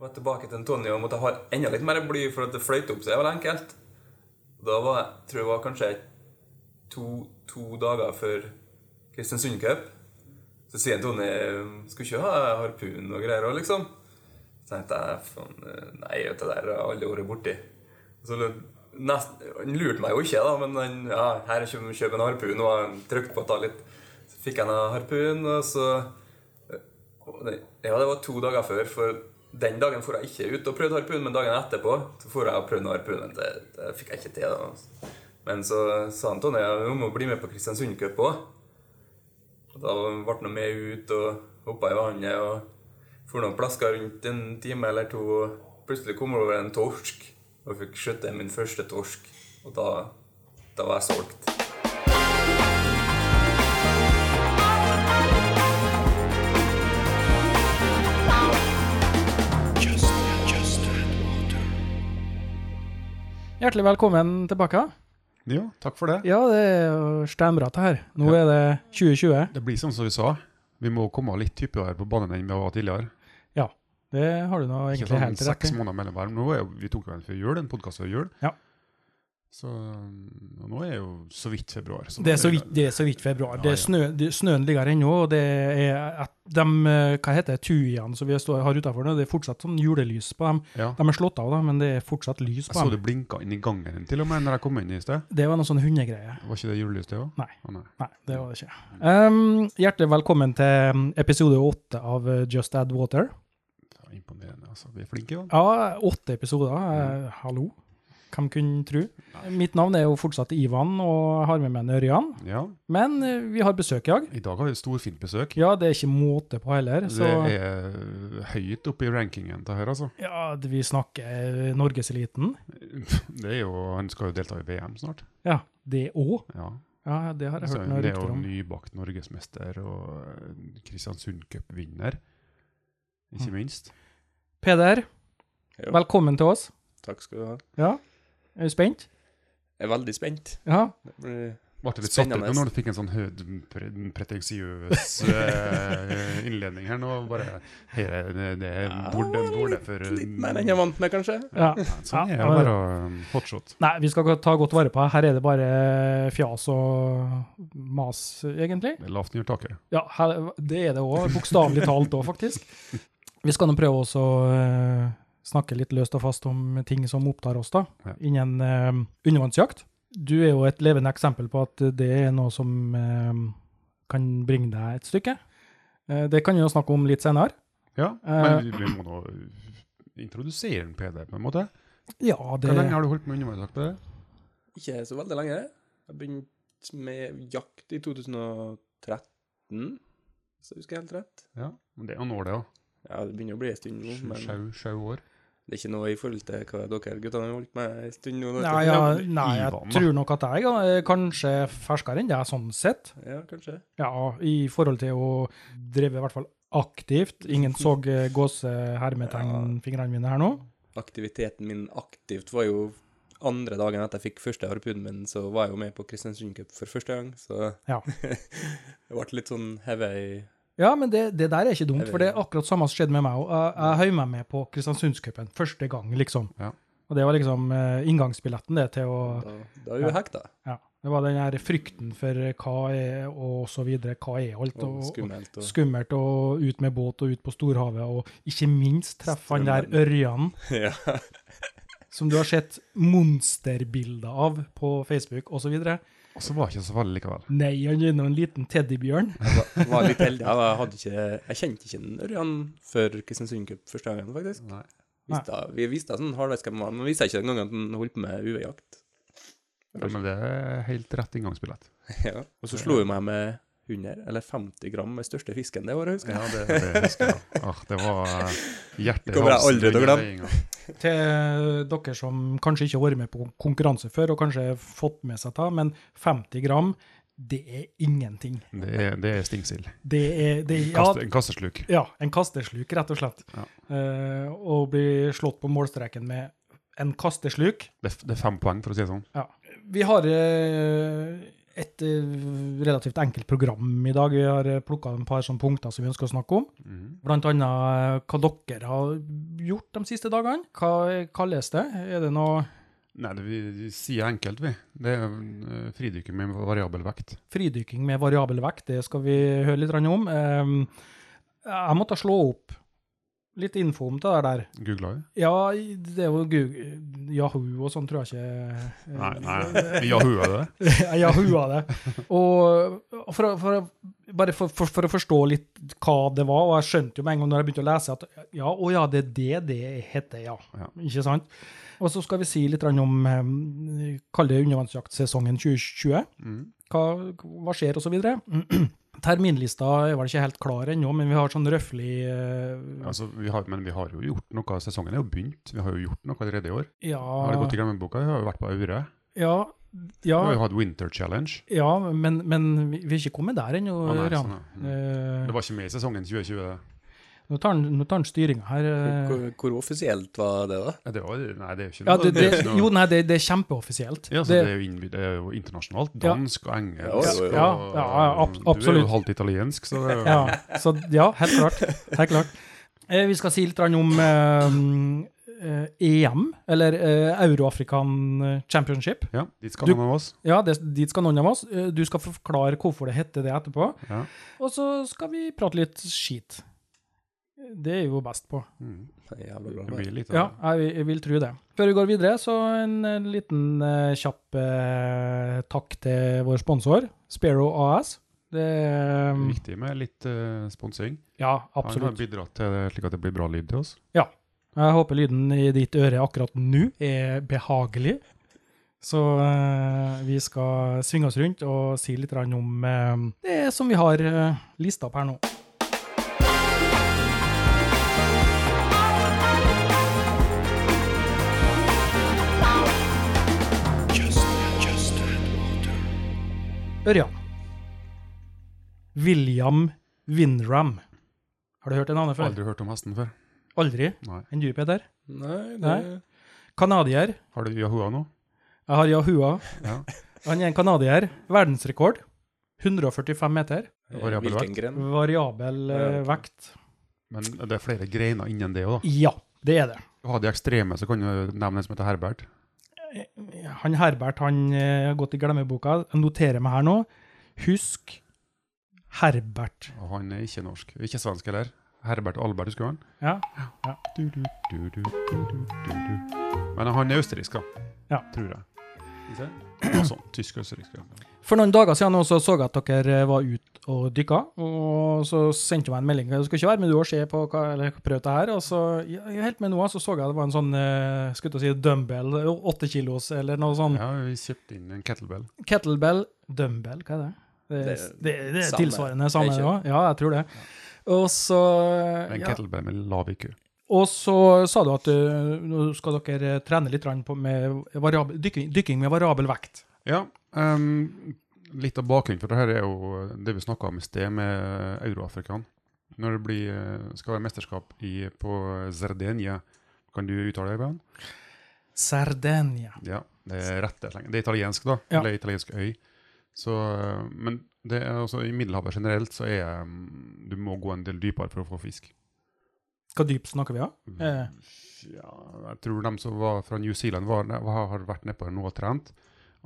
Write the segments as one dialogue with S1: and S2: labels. S1: var tilbake til Tonje og måtte ha enda litt mer bly for at det fløyt opp seg. Det var enkelt. Da var jeg, tror jeg det var kanskje to, to dager før Kristiansund Cup. Så sier Tonje skal ikke ha harpun og greier òg, liksom. Så tenkte jeg faen, nei, vet du, det der har jeg aldri vært borti. Så lø- nest, han lurte meg jo ikke, da, men han, ja, her kjøp, kjøp en harpun, og han trykte på å ta litt. Så fikk jeg en harpun, og så og det- Ja, det var to dager før, for den dagen for jeg ikke ut og prøvde harpun, men dagen etterpå så for jeg og prøvde harpunen. Det, det fikk jeg ikke til. da. Men så sa han Tonje at hun må bli med på Kristiansund Cup òg. Og da ble han med ut og hoppa i vannet og for noen plasker rundt en time eller to. Og plutselig kom det over en torsk og fikk skjøtte min første torsk. Og da, da var jeg solgt.
S2: Hjertelig velkommen tilbake.
S3: Jo, takk for det.
S2: Ja, det er jo steinbra det her. Nå er det 2020.
S3: Det blir sånn som vi sa. Vi må komme litt hyppigere på banen enn vi var tidligere.
S2: Ja, det har du nå
S3: Ikke
S2: egentlig
S3: sånn
S2: helt rett
S3: seks
S2: i.
S3: måneder mellom hver. men Nå er jo, vi tok jo en før jul, en podkast før jul.
S2: Ja.
S3: Så og nå er jo så vidt februar.
S2: Det er så vidt, det er så vidt februar. Det
S3: Ja, ja.
S2: er snø, det, snøen ligger ennå, og det er at de eh, hva heter det, tujaene som vi står, har utafor nå, det er fortsatt sånn julelys på dem.
S3: Ja.
S2: De er slått av, da, men det er fortsatt lys
S3: Jeg
S2: på
S3: så
S2: dem.
S3: det blinka inn i gangen til og med når jeg kom inn i sted.
S2: Det var noe sånn hundegreie.
S3: Var ikke det julelys, det òg?
S2: Nei.
S3: Å nei.
S2: Nei, det var det ikke. Um, hjertelig velkommen til um, episode åtte av eh, Just Add Water.
S3: Det var imponerende, altså. Vi er flinke, jo.
S2: Ja, åtte episoder. eh, Hallo. Hvem kunne tro? Mitt navn er jo fortsatt Ivan, og jeg har med meg en Ørjan.
S3: Ja.
S2: Men eh, vi har besøk i dag.
S3: I dag har vi storfint besøk.
S2: Ja, det er ikke måte på heller. Så
S3: Det er høyt oppe i rankingen til her, altså.
S2: ja, vi snakker eh, norgeseliten.
S3: Det er jo, han skal jo delta i VM snart.
S2: Ja, det òg.
S3: Ja.
S2: Ja, det har jeg
S3: Så
S2: hørt noen
S3: det er
S2: rykter
S3: jo
S2: om.
S3: nybakt norgesmester og eh, Kristiansund Cup-vinner, ikke
S2: Mm.
S3: minst.
S2: Peder,
S4: Jo.
S2: velkommen til oss.
S4: Takk skal du ha.
S2: Ja, er du spent?
S4: Jeg er veldig spent.
S2: Ja.
S4: Det blir-
S3: Ble du litt satt ut nå
S4: Spennende.
S3: når du fikk en sånn hø- pre- pretensiøs eh, innledning her nå? Bare, her, er det, det
S4: Ja,
S3: burde, borde for
S4: Litt mer enn jeg er vant med, kanskje.
S2: ja.
S3: Sånn er det
S2: Ja,
S3: å
S2: men-
S3: være eh, hotshot.
S2: Nei, vi skal ta godt vare på deg. Her er det bare fjas og mas, egentlig.
S3: Det er lavt under taket.
S2: Ja, her, det er det òg. Bokstavelig talt òg, faktisk. Vi skal nå prøve også å eh, snakke litt løst og fast om ting som opptar oss, da,
S3: Ja.
S2: innen eh, undervannsjakt. Du er jo et levende eksempel på at det er noe som eh, kan bringe deg et stykke. Eh, det kan vi jo snakke om litt senere.
S3: Ja,
S2: Eh,
S3: men vi, vi må nå uh, introdusere en PD på en måte.
S2: Ja, det
S3: Hvor lenge har du holdt med undervannsjakt på det?
S4: Ikke så veldig lenge. Jeg begynte med jakt i 2013, hvis jeg husker helt rett.
S3: Ja, men det er noen år det,
S4: Ja, det begynner å bli en stund nå,
S3: ja.
S4: men
S3: Sjau- Sjau år.
S4: det er ikke noe i forhold til hva dere guttene har holdt med en stund nå.
S2: Nei, ja, nei, jeg
S3: Ivan, da.
S2: tror nok at jeg er kanskje ferskere enn deg, sånn sett.
S4: Ja, kanskje.
S2: Ja, i forhold til å drive i hvert fall aktivt. Ingen så eh, gåsehermetegnfingrene mine her nå.
S4: Aktiviteten min aktivt var jo andre dagen etter jeg fikk første harpunen min, så var jeg jo med på Kristiansund Cup for første gang, så
S2: Ja.
S4: det ble litt sånn hevet i
S2: Ja, men det, det der er ikke dumt,
S4: Jeg
S2: for det er akkurat samme som skjedde med meg òg. Jeg, jeg høy meg med på Kristiansundscupen første gang, liksom.
S3: Ja.
S2: Og det var liksom eh, inngangsbilletten det til å
S4: Da, da er vi
S2: Ja.
S4: hekta.
S2: ja, Det var den her frykten for hva er og så videre, hva er alt.
S4: Og
S2: Og, og,
S4: skummelt. Og,
S2: skummelt og ut med båt og ut på storhavet, og ikke minst treffe han der Ørjan.
S4: ja.
S2: som du har sett monsterbilder av på Facebook osv.
S3: Og så var det ikke så farlig likevel.
S2: Nei, han er nå en liten teddybjørn.
S4: Jeg var litt heldig. Jeg, hadde ikke, jeg kjente ikke den Ørjan før Kristiansund Cup første gangen, faktisk.
S3: Nei.
S4: Visste, vi visste sånn halvveis hvem han var, men visste ikke den gangen at han holdt på med UV-jakt.
S3: Ja, men det er helt rett inngangsbillett.
S4: Ja. Og så slo hun meg med 100, eller 50 gram, med største fisken det året, husker jeg.
S3: Ja, det, husker jeg. Åh, det var eh, hjertet
S4: Det kommer jeg aldri til å glemme.
S2: Til dere som kanskje ikke har vært med på konkurranse før, og kanskje har fått med seg det, men 50 gram, det er ingenting.
S3: Det er, det er stingsild.
S2: Det er, det er ja,
S3: Kaste, en kastesluk.
S2: ja, en kastesluk, rett og slett.
S3: Ja.
S2: Eh, å bli slått på målstreken med en kastesluk
S3: Det, er f- det er fem poeng, for å si det sånn.
S2: Ja. Vi har eh, et eh, relativt enkelt program i dag. Vi har plukka en par sånne punkter som vi ønsker å snakke om.
S3: Mhm.
S2: Blant annet eh, hva dere har gjort de siste dagene. Hva kalles det? Er det noe
S3: Nei, det, vi, vi sier enkelt, vi. Det er øh, fridykking med variabel vekt.
S2: fridykking med variabel vekt? Det skal vi høre litt grann om. Ehm, Jeg måtte slå opp litt info om det der der.
S3: Googla vi?
S2: Ja, det er jo Google, Yahoo og sånn, tror jeg ikke
S3: Nei, nei. vi Yahoo-a det.
S2: Jeg Yahoo av det. Og og for, å- for, å- bare for, for, for å forstå litt hva det var, og jeg skjønte jo med en gang når jeg begynte å lese at ja, å ja, det er det det heter, ja.
S3: Ja.
S2: Ikke sant? Og så skal vi si litt grann om eh, Kall det undervannsjaktsesongen 2020.
S3: Mhm.
S2: Hva, hva skjer, og så videre. Terminlista er vel ikke helt klar ennå, men vi har sånn røffelig eh,
S3: Altså, vi har, men vi har jo gjort noe. Sesongen er jo begynt. Vi har jo gjort noe allerede i år. Har det
S2: Ja,
S3: gått i glemmeboka? Vi har jo vært på Aure.
S2: ja,
S3: Vi har
S2: ja,
S3: jo hatt Winter Challenge.
S2: ja men, men vi vi er ikke kommet der ennå, Eh,
S3: Å, nei,
S2: Ørjan.
S3: sånn, ja. Mhm. Det var ikke med i sesongen 2020. det.
S2: Nå tar han- nå tar han styringa her. eh.
S4: Hvor, hvor offisielt var det, da?
S3: Ja, Det var, nei, det er jo ikke
S2: Ja,
S3: noe.
S2: det,
S3: det er
S2: det,
S3: ikke noe-
S2: jo, nei, det, det er kjempeoffisielt.
S3: Ja, så det,
S2: Det-
S3: er jo innby- det er jo internasjonalt.
S2: Ja.
S3: Dansk og engelsk.
S4: Ja,
S3: og-
S2: ja, ja, ab-
S3: Du er
S2: absolutt.
S3: jo halvt italiensk, så det er jo
S2: ja, så, ja, helt klart. Helt klart. Eh, vi skal si litt grann om eh, eh, EM, eller eh, Euro-African Championship.
S3: ja, dit skal
S2: Du-
S3: noen av oss.
S2: Ja, det, dit skal noen av oss. Eh, Du skal forklare hvorfor det heter det etterpå.
S3: Ja.
S2: Og så skal vi prate litt skit. Det er jo best på.
S3: Mm.
S4: Jævla bra.
S3: Det blir litt av
S2: Ja,
S3: det.
S2: jeg, jeg vil tro det. Før vi går videre, så en, eh, liten eh, kjapp eh, takk til vår sponsor, Sparrow AS. Det er
S3: Det er eh, viktig med litt uh, sponsing.
S2: Ja,
S3: Han har
S2: absolutt.
S3: bidratt til det, slik at det blir bra lyd til oss.
S2: Jeg håper lyden i ditt øre akkurat nå er behagelig. Så eh, vi skal svinge oss rundt og si litt grann om eh, det som vi har eh, lista opp her nå. Ørjan. William Windram. Har du hørt det navnet før?
S3: Aldri hørt om hesten før.
S2: Aldri.
S3: Nei.
S2: Enn du, Peder?
S4: Nei, det
S2: Nei. Kanadier.
S3: Har du Yahoo nå?
S2: Jeg har Yahua.
S3: Ja.
S2: Han er en kanadier. Verdensrekord. 145 meter.
S4: Eh,
S3: Variabel
S4: Hvilken gren?
S2: Variabel eh, vekt.
S3: Men det er flere greiner innen det òg, da.
S2: Ja, det er det.
S3: Har de ekstreme, så kan du nevne en som heter Herbert.
S2: Han Herbert han eh, har gått i glemmeboka. Jeg noterer meg her nå. Husk Herbert.
S3: Og han er ikke norsk. Ikke svensk heller. Herbert Albert, husker du han?
S2: Ja.
S3: Du, du, du, du, du, du, du. Men han er østerriksk, da.
S2: Ja.
S3: Tror jeg. Ikke sant? Ja, sånn. Tysk-østerriksk. ja.
S2: For noen dager siden også så jeg at dere eh, var ute og dykka, og så sendte hun meg en melding. Du skal ikke være med du og se på hva, eller prøve det her. Og så ja, jeg er helt med nå, så så jeg det var en sånn eh, skulle til å si dumbbell, åtte kilos eller noe sånn.
S3: Ja, vi kjøpte inn en kettlebell.
S2: Kettlebell, dumbbell, hva er det? Det, er-
S4: Det er-
S2: det, er- det er
S4: samme.
S2: tilsvarende samme,
S4: Det er
S2: det
S4: ikke-
S2: òg. Ja, jeg tror det. Og så
S3: En
S2: ja.
S3: kettlebell med lav IQ.
S2: Og så sa du at eh, nå skal dere trene litt grann på med variabel, dykking, dykking med variabel vekt.
S3: Ja, ehm, litt av bakgrunnen for det her er jo det vi snakka om i sted, med Euro-Afrikan. Når det blir, eh, skal være mesterskap i, på Zardenia, kan du uttale det, Bjørn?
S2: Sardinia.
S3: Ja, det er rett og slett. Det er italiensk, da.
S2: Ja.
S3: Eller italiensk øy. Så, eh, men det er også, i Middelhavet generelt så er mm, du må gå en del dypere for å få fisk.
S2: Hva dypt snakker vi om? Eh.
S3: Ja, jeg tror de som var fra New Zealand, var, ne- har har vært nedpå her nå og trent.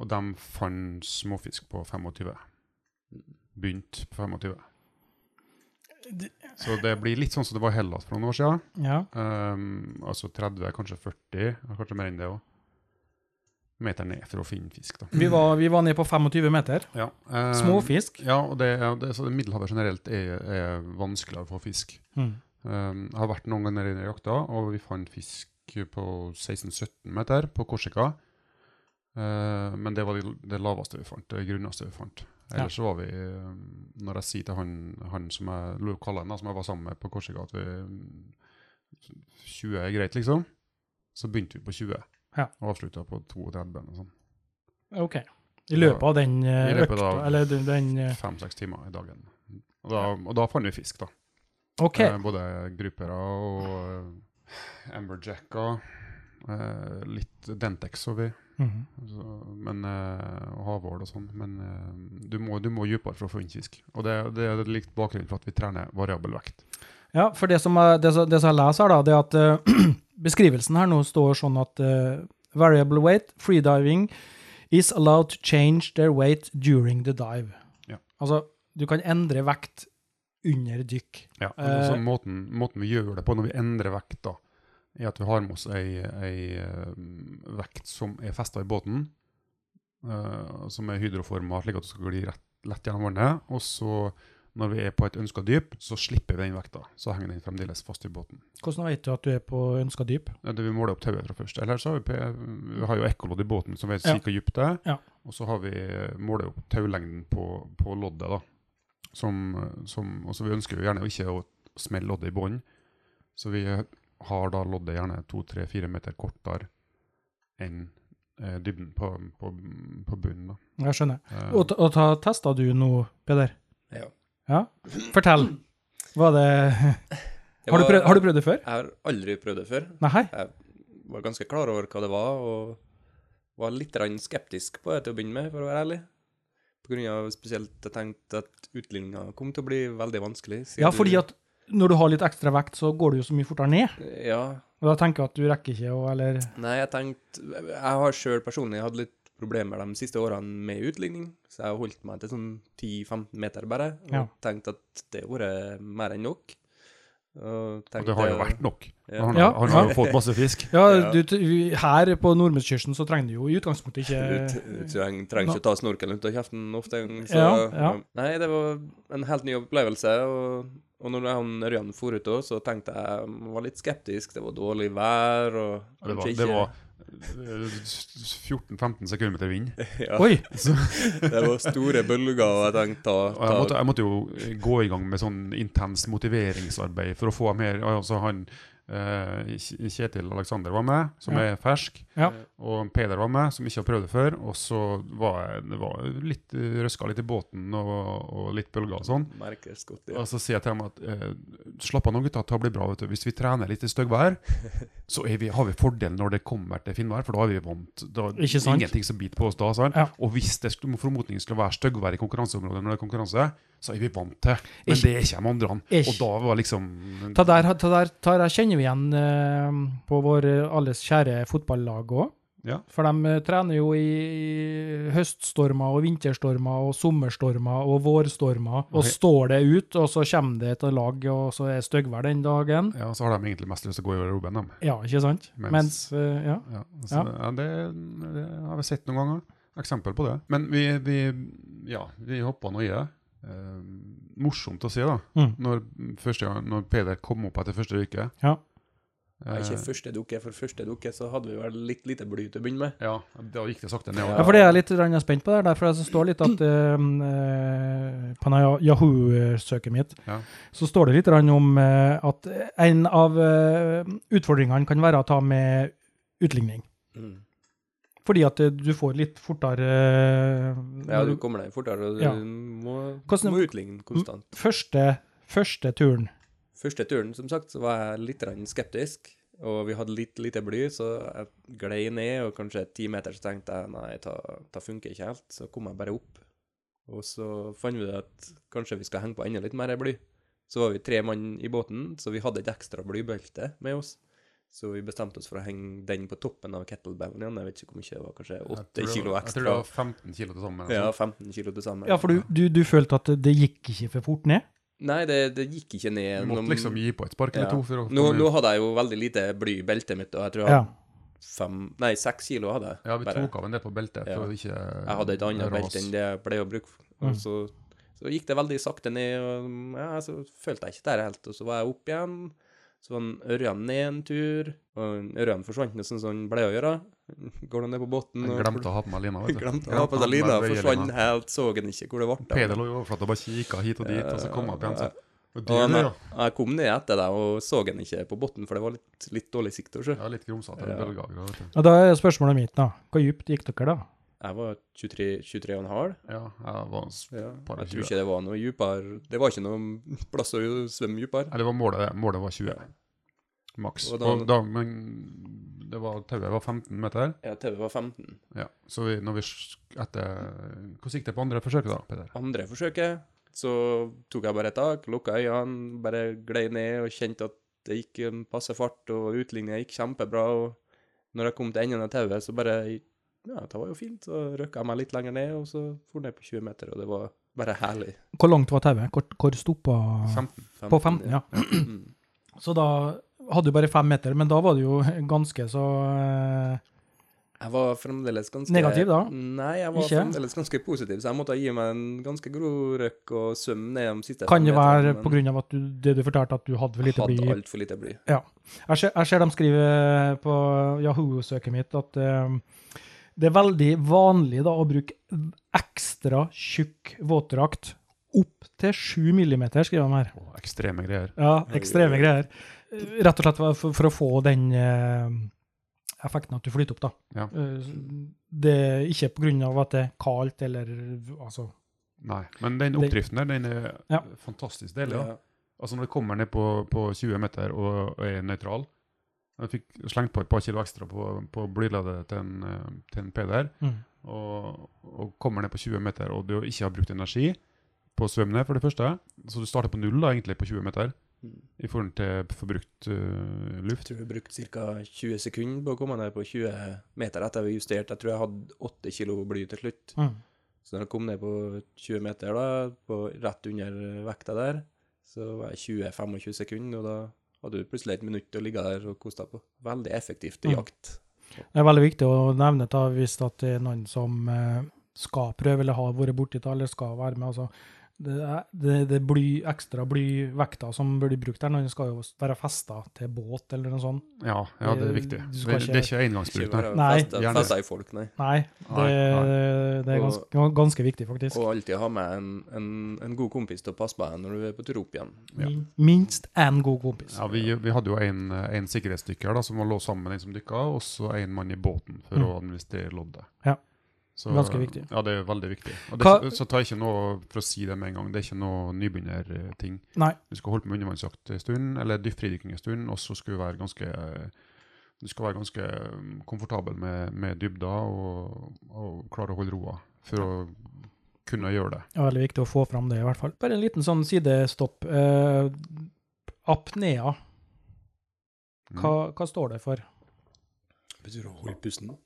S3: Og de fant småfisk på 25. Begynt på 25.
S2: Det-
S3: Så det blir litt sånn som det var i Hellas for noen år siden.
S2: Ja.
S3: Ehm, altså 30, kanskje 40, og kanskje mer enn det òg. Meter ned for å finne fisk, da.
S2: Vi var, vi var nede på 25 meter.
S3: Ja, ehm,
S2: Små fisk.
S3: Ja, og det, ja, det, så det Middelhavet generelt er, er vanskeligere å få fisk.
S2: Mm.
S3: Um, jeg har vært noen ganger nede i jakta, og vi fant fisk på 16-17 meter på Korsika. Eh, men det var det, det laveste vi fant, det grunneste vi fant. Ellers så var vi, um, når jeg sier til han, han som jeg lo- kaller han da, som jeg var sammen med på Korsika, at vi, mm, 20 er greit, liksom, så begynte vi på 20.
S2: Ja.
S3: Og avslutta på 32 eller sånn.
S2: OK. I løpet av den eh,
S3: I løpet
S2: økta,
S3: av-
S2: eller den, den eh,
S3: Fem-seks timer i dagen. Og da, og da fant vi fisk, da.
S2: OK.
S3: Eh, både grupere eh, og eh, amberjacker. Eh, litt Dentex over,
S2: Mhm.
S3: så, men, eh, og havål og sånn. Men eh, du, må, du må dypere for å få inn fisk. Og det, det er litt bakgrunnen for at vi trener variabel vekt.
S2: Ja, for det som, er- det, som- det som jeg leser her, da, det er at eh, beskrivelsen her nå står sånn at eh, variable weight, freediving, is allowed to change their weight during the dive.
S3: Ja.
S2: Altså, du kan endre vekt under dykk.
S3: Ja,
S2: Eh,
S3: så måten, måten vi gjør det på når vi endrer vekt, da, er at vi har med oss ei, ei eh, vekt som er festa i båten, eh, som er hydroforma, slik at du skal gli rett, lett gjennom vannet. Og så, når vi er på et ønska dyp, så slipper vi den vekta. Så henger den fremdeles fast i båten.
S2: Hvordan vet du at du er på ønska dyp?
S3: Ja, Det vi måler opp tauet fra først. Eller så har vi, pe- vi har jo ekkolodd i båten som vet
S2: Ja.
S3: cirka dypt det er.
S2: Ja.
S3: Og så har vi eh, måler opp taulengden på, på loddet, da. Som, som, og så vi ønsker jo gjerne ikke å smelle loddet i bånn. Så vi har da loddet gjerne to, tre, fire meter kortere enn eh, dybden på, på, på bunnen. da.
S2: Jeg skjønner.
S3: Eh,
S2: Og, ta- og ta, testa du nå, Peder?
S4: Ja.
S2: Ja? Fortell. Var det, har, du prøvd, har du prøvd det før?
S4: Jeg har aldri prøvd det før.
S2: Nei?
S4: Var ganske klar over hva det var, og var litt grann skeptisk på det til å begynne med, for å være ærlig. På grunn av spesielt jeg tenkte at utligninga kom til å bli veldig vanskelig. siden
S2: Ja,
S4: du-
S2: fordi at når du har litt ekstra vekt, så går du jo så mye fortere ned.
S4: Ja,
S2: Og da tenker jeg at du rekker ikke å Eller
S4: Nei, jeg tenkte Jeg har sjøl personlig hatt litt problemer de siste årene med utligning, så jeg har holdt meg til sånn 10-15 meter bare, og
S2: Ja.
S4: tenkt at det har vært mer enn nok. Og,
S3: og
S4: tenkte-
S3: det har jo vært nok.
S4: Ja.
S3: Han,
S2: Ja,
S3: har- han
S2: ja.
S3: har jo fått masse fisk.
S2: Ja,
S4: Ja.
S2: du, t- her på Nordmørskysten så trenger du jo i utgangspunktet ikke
S4: Du treng- trenger ikke å ta snorkelen ut av kjeften ofte. en gang, Så,
S2: Ja, ja.
S4: Nei, det var en helt ny opplevelse. Og, og når han Ørjan for ut òg, så tenkte jeg jeg var litt skeptisk. Det var dårlig vær og
S3: Det var,
S4: kanskje
S3: det var
S4: ikke-
S3: eh, 14-15 sekundmeter vind.
S4: ja,
S2: Oi!
S4: Det var store bølger, og jeg tenkte ta,
S3: Og
S4: ta
S3: jeg måtte, jeg måtte jo gå i gang med sånn intens motiveringsarbeid for å få ham her. Altså han, eh, Kj- Kjetil Aleksander var med, som
S2: Ja.
S3: er fersk.
S2: Ja.
S3: Og Peder var med, som ikke har prøvd det før. Og så var jeg det var litt eh, røska litt i båten og, og litt bølger og sånn.
S4: merkes godt. Ja.
S3: Og så sier jeg til ham at eh, slapp av nå, gutta, det blir bra. vet du. Hvis vi trener litt i styggvær, så er vi, har vi fordelen når det kommer til finvær, for da er vi vant. Da, er
S2: Ikke sant?
S3: Ingenting som biter på oss da. sant?
S2: Ja.
S3: Og hvis det skulle, formodningen skulle være styggvær i konkurranseområdet når det er konkurranse, så er vi vant til. Men
S2: Ikke-
S3: det er ikke de andre.
S2: Ikke-
S3: Og da var liksom
S2: Ta der, ta der, ta der kjenner vi igjen eh, på vår eh, alles kjære fotballag òg.
S3: Ja.
S2: For de eh, trener jo i i høststormer og vinterstormer og sommerstormer og vårstormer, og
S3: Ok.
S2: står det ut, og så kommer det et lag, og så er styggvær den dagen.
S3: Ja, så har de egentlig mest lyst til å gå i garderoben, de.
S2: Ja, ikke sant?
S3: Mens-
S2: Mens, eh, ja.
S3: Ja, altså,
S2: Ja.
S3: ja. det, det har vi sett noen ganger. Eksempel på det. Men vi, vi, ja, vi hoppa nå i det. Eh, morsomt å se, da.
S2: Mm.
S3: Når, første gang, når Peder kom opp etter første uke.
S2: Ja.
S3: Eh,
S4: Nei, ikke første dukke, for første dukke så hadde vi vel litt lite bly til å begynne med.
S3: ja, da gikk det sakte nedover.
S2: Ja, for det er jeg litt grann spent på der, derfor jeg så står litt at eh, på denne Yahoo-søket mitt,
S3: Ja.
S2: så står det litt grann om eh, at en av eh, utfordringene kan være å ta med utligning.
S3: Mm.
S2: Fordi at eh, du får litt fortere eh,
S4: Ja, du kommer deg fortere, og du
S2: Ja.
S4: må,
S2: Hvordan-
S4: må utligne konstant.
S2: første, første turen.
S4: Første turen, som sagt, så var jeg litt grann skeptisk, og vi hadde litt lite bly, så jeg glei ned, og kanskje ti meter så tenkte jeg nei, ta, ta funker ikke helt, så kom jeg bare opp. Og så fant vi ut at kanskje vi skal henge på enda litt mer bly. Så var vi tre mann i båten, så vi hadde et ekstra blybelte med oss. Så vi bestemte oss for å henge den på toppen av kettlebellen igjen. Jeg vet ikke hvor mye det var, kanskje
S3: Jeg
S4: 8
S3: tror det
S4: kilo
S3: var- Jeg tror det
S4: ekstra.
S3: var 15 kilo til sammen.
S4: Ja,
S3: altså.
S4: 15 kilo til sammen.
S2: Ja, for du, du, du følte at det gikk ikke for fort ned?
S4: Nei, det, det gikk ikke
S3: Vi
S4: ned.
S3: måtte
S4: Nå-
S3: liksom gi på et spark eller
S4: Ja.
S3: to. for å
S4: nå,
S3: komme-
S4: nå hadde jeg jo veldig lite bly i beltet mitt, og jeg tror jeg
S2: Ja.
S4: hadde fem, nei, seks kilo hadde jeg.
S3: ja, vi
S4: bare.
S3: tok av en del på beltet.
S4: Ja.
S3: for å ikke
S4: Jeg hadde et annet
S3: rase.
S4: belte enn det jeg pleier å bruke. Og så, så gikk det veldig sakte ned, og ja, så følte jeg ikke det her helt. Og så var jeg opp igjen. Så var en Ørjan ned en tur, og en Ørjan forsvant ned sånn som han pleier å gjøre. Går han ned på båten
S3: Jeg
S4: og
S3: glemte å ha på meg lina. vet du.
S4: Glemte å ha på
S3: Glemte
S4: seg lina,
S3: meg
S4: forsvant helt, så han ikke hvor det ble. av.
S3: Peder lå i overflata og bare kikka hit og dit, og så kom han opp igjen. Så. Og
S4: Og
S3: det,
S4: han,
S3: det, ja.
S4: jeg kom ned etter deg og så han ikke på båten, for det var litt, litt dårlig sikt. å se.
S3: Ja, litt grumsete.
S4: Ja.
S3: Ja.
S2: Og da er spørsmålet mitt, da. Hvor dypt gikk dere, da?
S4: Jeg var 23, 23 og en halv.
S3: ja, jeg var s-
S4: Ja,
S3: par og
S4: jeg tror
S3: tjue.
S4: ikke det var noe dypere Det var ikke noe plass å svømme dypere.
S3: Eller det var målet, målet var 20. Maks.
S4: Og
S3: Og
S4: da-
S3: da, men det var, tauet var 15 meter.
S4: Ja, TV var 15.
S3: Ja. Så vi, når vi sk- etter Hvordan gikk det på andre forsøket, da, Peter?
S4: Andre forsøket så tok jeg bare et tak, lukka øynene, bare glei ned og kjente at det gikk en passe fart, og utligninga gikk kjempebra. Og når jeg kom til enden av tauet, så bare Ja, det var jo fint. Så røkka jeg meg litt lenger ned, og så for ned på 20 meter, og det var bare herlig.
S2: Hvor langt var tauet? Hvor, hvor stoppa
S4: Ah.
S3: 15.
S2: På 15, ja.
S4: Mm.
S2: Så da hadde du bare fem meter, men da var du jo ganske så eh,
S4: Jeg var fremdeles ganske
S2: Negativ da?
S4: Nei, jeg var
S2: Ikke?
S4: fremdeles ganske positiv, så jeg måtte gi meg en ganske grov røkk og svømme ned de siste
S2: Kan det være
S4: på
S2: pga. at du, det du fortalte, at du hadde for lite
S4: Hadde
S2: bly?
S4: altfor lite bly.
S2: Ja. Jeg ser, jeg ser de skriver på Yahoo-søket mitt at eh, det er veldig vanlig da, å bruke ekstra tjukk våtdrakt. Opptil 7 millimeter, skriver de her.
S3: Å, ekstreme greier.
S2: Ja, ekstreme greier. Eh, Rett og slett for, for å få den eh, effekten at du flyter opp, da.
S3: Ja.
S2: Eh, Det er ikke på grunn av at det er kaldt eller altså
S3: Nei. Men den
S2: Det-
S3: oppdriften der, den er
S2: Ja.
S3: fantastisk deilig. da.
S4: Ja.
S3: Altså når det kommer ned på, på 20 meter og, og er nøytral Jeg fikk slengt på et par kilo ekstra på, på blyladet til en, eh, til en Peder.
S2: mm.
S3: Og, og kommer ned på 20 meter, og du ikke har brukt energi på å svømme ned, for det første. Så du starter på null da, egentlig, på 20 meter
S4: Mm.
S3: i forhold til forbrukt eh,
S4: Jeg
S3: luft.
S4: tror jeg brukte ca. 20 sekunder på å komme ned på 20 meter etter vi justerte. Jeg tror jeg hadde 8 kilo bly til slutt.
S2: Mm.
S4: Så når jeg kom ned på 20 meter, da, på rett under vekta der, så var jeg 20-25 sekunder, og da hadde du plutselig et minutt å ligge der og kose deg på. Veldig effektivt i
S2: Mm.
S4: jakt.
S2: Det er veldig viktig å nevne da, hvis at det er noen som eh, skal prøve eller har vært borti det, eller skal være med. Altså, det er, det, det er bly, ekstra blyvekter som blir brukt her. Den skal jo være festa til båt eller noe sånt.
S3: Ja, ja, det er
S2: Eh,
S3: viktig.
S2: du
S3: Det,
S2: skal ikke-
S3: det er ikke
S4: Ikke
S3: engangsbruk.
S4: bare
S3: Nei.
S2: Nei.
S4: festa
S3: Gjerne.
S4: festa i folk, nei.
S2: Nei, det,
S3: Nei,
S2: det er ganske, ganske viktig, faktisk.
S4: Og alltid ha med en, en, en god kompis til å passe på deg når du er på tur opp igjen.
S3: ja.
S2: Min- Minst én god kompis.
S3: Ja, vi, vi hadde jo en, eh, en sikkerhetsdykker da, som var låst sammen med den som dykka, og så en mann i båten for
S2: Mm.
S3: å administrere loddet.
S2: Ja.
S3: Så,
S2: Ganske viktig.
S3: Ja, det er veldig viktig. Og det,
S2: Hva-
S3: så ta ikke noe, for å si det med en gang, det er ikke noe nybegynnerting.
S2: Nei.
S3: Du skal holde på med undervannsjakt en stund, eller dypt fridykking en stund, og så skal du være ganske du skal være ganske um, komfortabel med, med dybda og, og klare å holde roa for å kunne gjøre det.
S2: Det er veldig viktig å få fram det, i hvert fall. Bare en liten sånn sidestopp. Eh, apnea,
S3: Mm.
S2: hva, hva står det for?
S4: Betyr å holde pusten.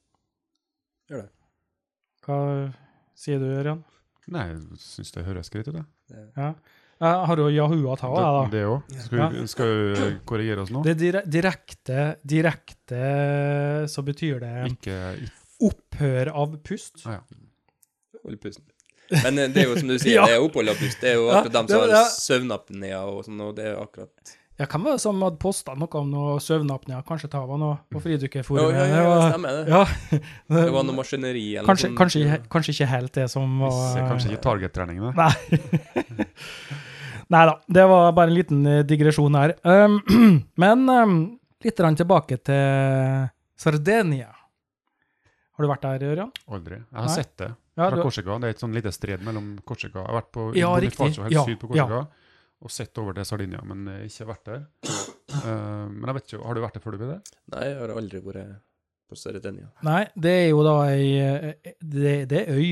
S2: Hva sier du, Ørjan?
S3: Nei, jeg syns det høres greit ut, det.
S2: Jeg har jo Yahoo-at her, da.
S3: Det òg. Skal vi- skal vi korrigere oss nå?
S2: Det er dire- direkte, direkte så betyr det
S3: Ikke, ikke
S2: opphør av pust.
S3: Ja.
S4: Holde pusten. Men eh, det er jo som du sier,
S2: Ja.
S4: det er opphold av pust. Det er jo
S2: Ja,
S4: akkurat dem
S2: det
S4: som
S2: var
S4: har
S2: det.
S4: søvnapnea og sånn, og det er akkurat
S2: Ja, hvem var det som hadde posta noe om noe søvnapnea? Kanskje Tava nå,
S3: Mm.
S2: på
S4: Ja,
S2: Fridykkerforumet?
S4: ja, ja,
S2: Det
S4: ja,
S2: var-
S4: stemmer det.
S2: ja.
S4: Det var noe maskineri eller
S2: kanskje,
S4: sånn.
S2: kanskje, he- kanskje ikke helt det som var
S3: Ser kanskje ikke target-treningen, da.
S2: Nei. Nei da. Det var bare en liten eh, digresjon her. Um, men um, litt grann tilbake til Sardinia. Har du vært der, Ørjan?
S3: Aldri. Jeg har
S2: Nei.
S3: sett det
S2: Ja,
S3: fra
S2: du-
S3: Korsika. Det er et sånn lite stred mellom Korsika Jeg har vært på
S2: Ja,
S3: i
S2: riktig.
S3: Bonifacio, helt
S2: Ja,
S3: syd på
S2: ja.
S3: Korsika, og sett over til Sardinia, men eh, ikke vært der. Eh, men jeg vet ikke, har du vært der før du ble der?
S4: Nei, jeg har aldri vært på Sørretenia.
S2: Nei, det er jo da ei eh, Det, det er øy.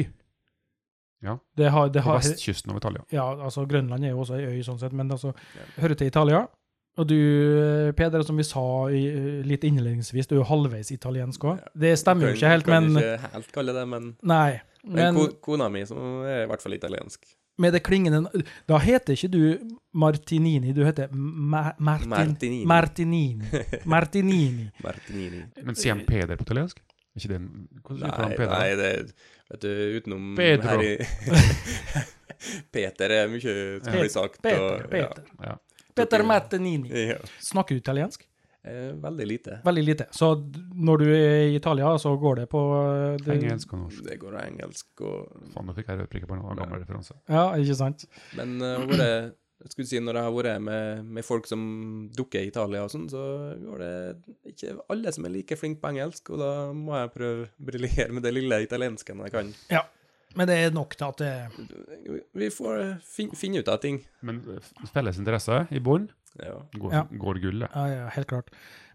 S3: Ja.
S2: Det har, det
S3: På
S2: har,
S3: vestkysten av Italia.
S2: ja, altså Grønland er jo også ei øy, sånn sett, men altså, hører til Italia. Og du, eh, Peder, som vi sa i, eh, litt innledningsvis, du er jo halvveis italiensk òg. Det stemmer jo
S4: Kan-
S2: ikke helt,
S4: kan
S2: men
S4: ikke helt kalle det, men,
S2: Nei.
S4: men
S2: Men
S4: ko kona mi som er i hvert fall italiensk.
S2: med det klingende Da heter ikke du Martinini, du heter Ma Martin
S4: Martinini.
S2: Martinini. Martinini.
S4: Martinini.
S3: Men sier
S2: Eh,
S3: han Peder på italiensk? Er ikke det en, hvordan uttaler
S4: Nei,
S3: han Peder?
S4: nei, det er- Vet du, utenom
S3: Pedro.
S4: her i Peter er mye som
S3: Ja.
S4: blir sagt.
S2: Peter.
S4: og-
S2: Peter,
S3: Ja.
S2: Peter Martinini.
S4: Ja. Ja.
S2: Snakker du italiensk?
S4: Eh, Veldig lite.
S2: Veldig lite. Så d- når du er i Italia, så går det på eh, det-
S3: Engelsk og norsk.
S4: Det går engelsk og
S3: Faen, nå fikk jeg rødprikker på en annen gammel referanse.
S2: Ja, ikke sant?
S4: Men eh, har vært- jeg skulle si når jeg har vært med, med folk som dukker i Italia og sånn, så går det ikke alle som er like flinke på engelsk, og da må jeg prøve å briljere med det lille italiensken jeg kan.
S2: Ja. Men det er nok til at det
S4: Vi får eh, fin, finne ut av ting.
S3: Men eh, felles interesse i bånn
S4: Ja.
S3: går,
S2: Ja.
S3: går gullet.
S2: Ja, ja, helt klart.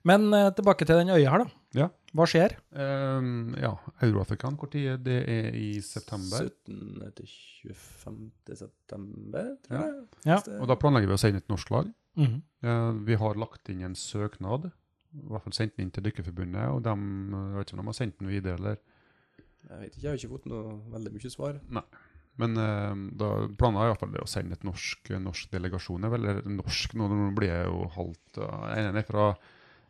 S2: Men eh, tilbake til den øya her, da.
S3: Ja.
S2: Hva skjer?
S3: Um, ja, Euroafrikan, hvor tid er det? Det er i september.
S4: 17. til 25. september, tror
S3: Ja.
S4: jeg.
S2: Ja.
S4: Hvis det-
S3: Og da planlegger vi å sende et norsk lag.
S2: Mhm.
S3: Eh, vi har lagt inn en søknad, i hvert fall sendt den inn til Dykkerforbundet, og de, jeg vet ikke om de har sendt den videre, eller
S4: Jeg vet ikke, jeg har ikke fått noe veldig mye svar.
S3: Men eh, da planla jeg iallfall det å sende et norsk, norsk delegasjon. Jeg er vel- Eller norsk, nå nå blir jeg jo halvt eh, En er fra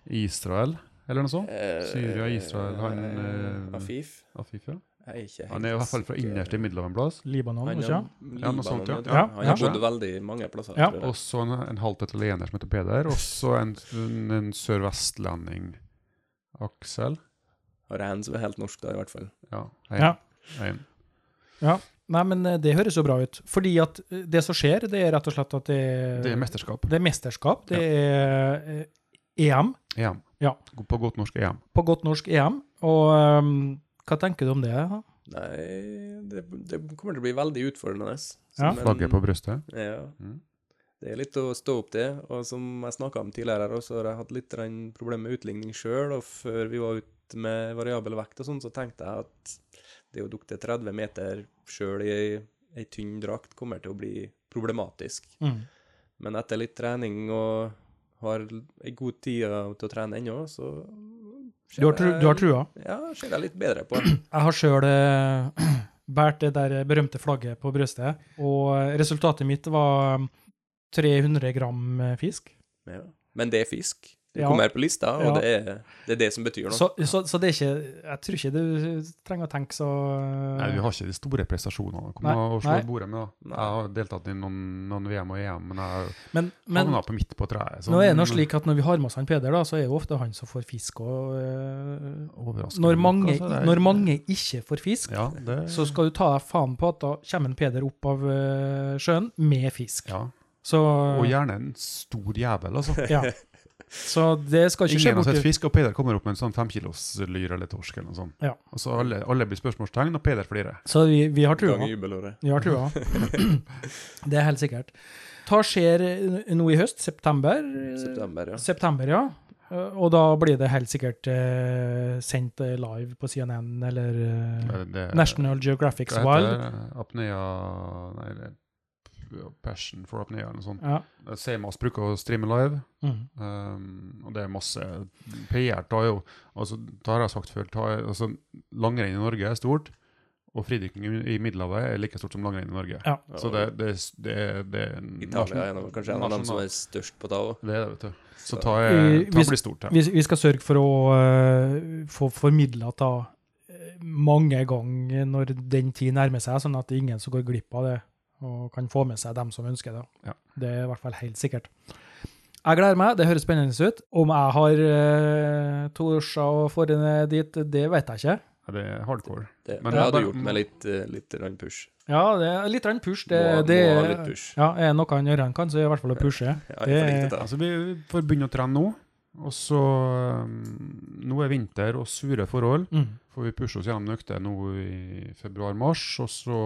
S3: Israel, eller noe
S4: Eh,
S3: sånt? Syria, Israel, han, eh,
S4: Afif?
S3: Afif, ja.
S4: Jeg er ikke helt eh,
S3: Han er i hvert fall fra
S4: sikker.
S3: innerst i Middelhavet en plass.
S2: Libanon,
S4: Han er
S2: ikke?
S3: Ja, noe sånt, ja.
S4: Libanon,
S2: Ja,
S4: Han
S2: ja.
S4: har bodd veldig mange plasser.
S2: Ja.
S4: tror jeg.
S3: Og så en, en halvt italiener som heter Peder, og så en, en, en sørvestlending, Aksel.
S4: Har en som er helt norsk, da, i hvert fall.
S3: Ja.
S2: Ja.
S3: en.
S2: Nei, men eh, det høres jo bra ut. Fordi at eh, det som skjer, det er rett og slett at det er,
S3: Det er mesterskap.
S2: det er mesterskap. Det er eh, EM,
S3: EM.
S2: Ja.
S3: På godt norsk EM.
S2: på godt norsk EM. Og eh, hva tenker du om det? da?
S4: Nei, det, det kommer til å bli veldig utfordrende.
S2: Ja.
S4: men-
S3: Flagget på brystet.
S4: Ja.
S3: Mm.
S4: Det er litt å stå opp til. Og som jeg snakka om tidligere, her også, har jeg hatt litt grann problemer med utligning sjøl. Og før vi var ute med variabel vekt og sånn, så tenkte jeg at det å dukke til 30 meter sjøl i ei, ei tynn drakt kommer til å bli problematisk.
S2: Mm.
S4: Men etter litt trening og har l- ei god tid eh, til å trene ennå, så ser
S2: Du, har tru,
S4: jeg-
S2: du har trua?
S4: Ja, ser jeg litt bedre på.
S2: Jeg har sjøl eh, båret det der berømte flagget på brystet, og eh, resultatet mitt var eh, 300 gram eh, fisk.
S4: Ja. Men det er fisk. Det
S2: Ja.
S4: kommer på lista, og
S2: Ja.
S4: det, er, det er det som betyr noe.
S2: Så, så, så det er ikke Jeg tror ikke du trenger å tenke så
S3: Nei, vi har ikke de store prestasjonene. Kom
S2: Nei,
S3: og slå
S2: nei.
S3: bordet med, da.
S4: Nei.
S3: Jeg har deltatt i noen, noen VM og EM, men jeg
S2: Men, men
S3: havna på midt på treet. sånn. så-
S2: nå er det nå slik at når vi har med oss han Peder, da, så er jo ofte han som får fisk. Og, eh,
S3: Overraskende
S2: når,
S3: nok,
S2: mange,
S3: altså, det er-
S2: når mange ikke får fisk,
S3: Ja, det
S2: så skal du ta deg faen på at da kommer en Peder opp av eh, sjøen med fisk.
S3: ja.
S2: Så,
S3: Og gjerne en stor jævel, altså.
S2: ja. så det skal ikke skje
S3: Ingen har sett
S2: borti
S3: fisk, og Peder kommer opp med en sånn femkiloslyr eller torsk eller noe sånt.
S2: Ja.
S3: Og så alle, alle blir spørsmålstegn, og Peder flirer.
S2: Så vi, vi har trua.
S4: Gang i jubelåret.
S2: Vi har trua. Det er helt sikkert. Hva skjer eh, nå i høst? September?
S4: September, ja.
S2: September, ja. Eh, Og da blir det helt sikkert eh, sendt eh, live på CNN eller eh,
S3: Det- det-
S2: National Geographic
S3: hva
S2: Wild.
S3: heter det? Apnea Nei, det er Passion for apnea eller noe sånt.
S2: Ja.
S3: Seimas bruker å streame live.
S2: Mm.
S3: Um, og det er masse PR tar jo altså, Det har jeg sagt før. Tar, altså, langrenn i Norge er stort, og fridykking i- i Middelhavet er like stort som langrenn i Norge.
S2: Ja.
S3: Så det, det, det, det er
S4: Italia er noe- kanskje en av dem som er
S3: nasjonal-
S4: størst på ta òg.
S3: Det er det, vet du. Så
S4: Så-
S3: ta, er-
S2: I-
S3: ta
S2: Eh, hvis-
S3: blir stort her.
S2: Vi, vi skal sørge for å eh, få formidla ta eh, mange ganger når den tid nærmer seg, sånn at det er ingen som går glipp av det, og kan få med seg dem som ønsker det.
S3: Ja.
S2: Det er i hvert fall helt sikkert. Jeg gleder meg, det høres spennende ut. Om jeg har uh, Torsa og forene dit, det vet jeg ikke.
S3: Ja, Det er hardcore.
S4: Det
S3: Men
S4: jeg
S3: jeg
S4: hadde
S3: bare-
S4: gjort med litt, eh, litt grann push.
S2: Ja, det er litt grann push. Det,
S4: Må- må
S2: det
S4: ha
S2: er-
S4: litt push.
S2: Ja, er det noe han Ørjan kan, så er det i hvert fall å pushe.
S4: Ja, jeg er flink til det.
S3: Altså, vi får begynne å trene nå. Og så um, Nå er vinter og sure forhold.
S2: Mm.
S3: Får vi pushe oss gjennom nøkter nå i februar-mars, og så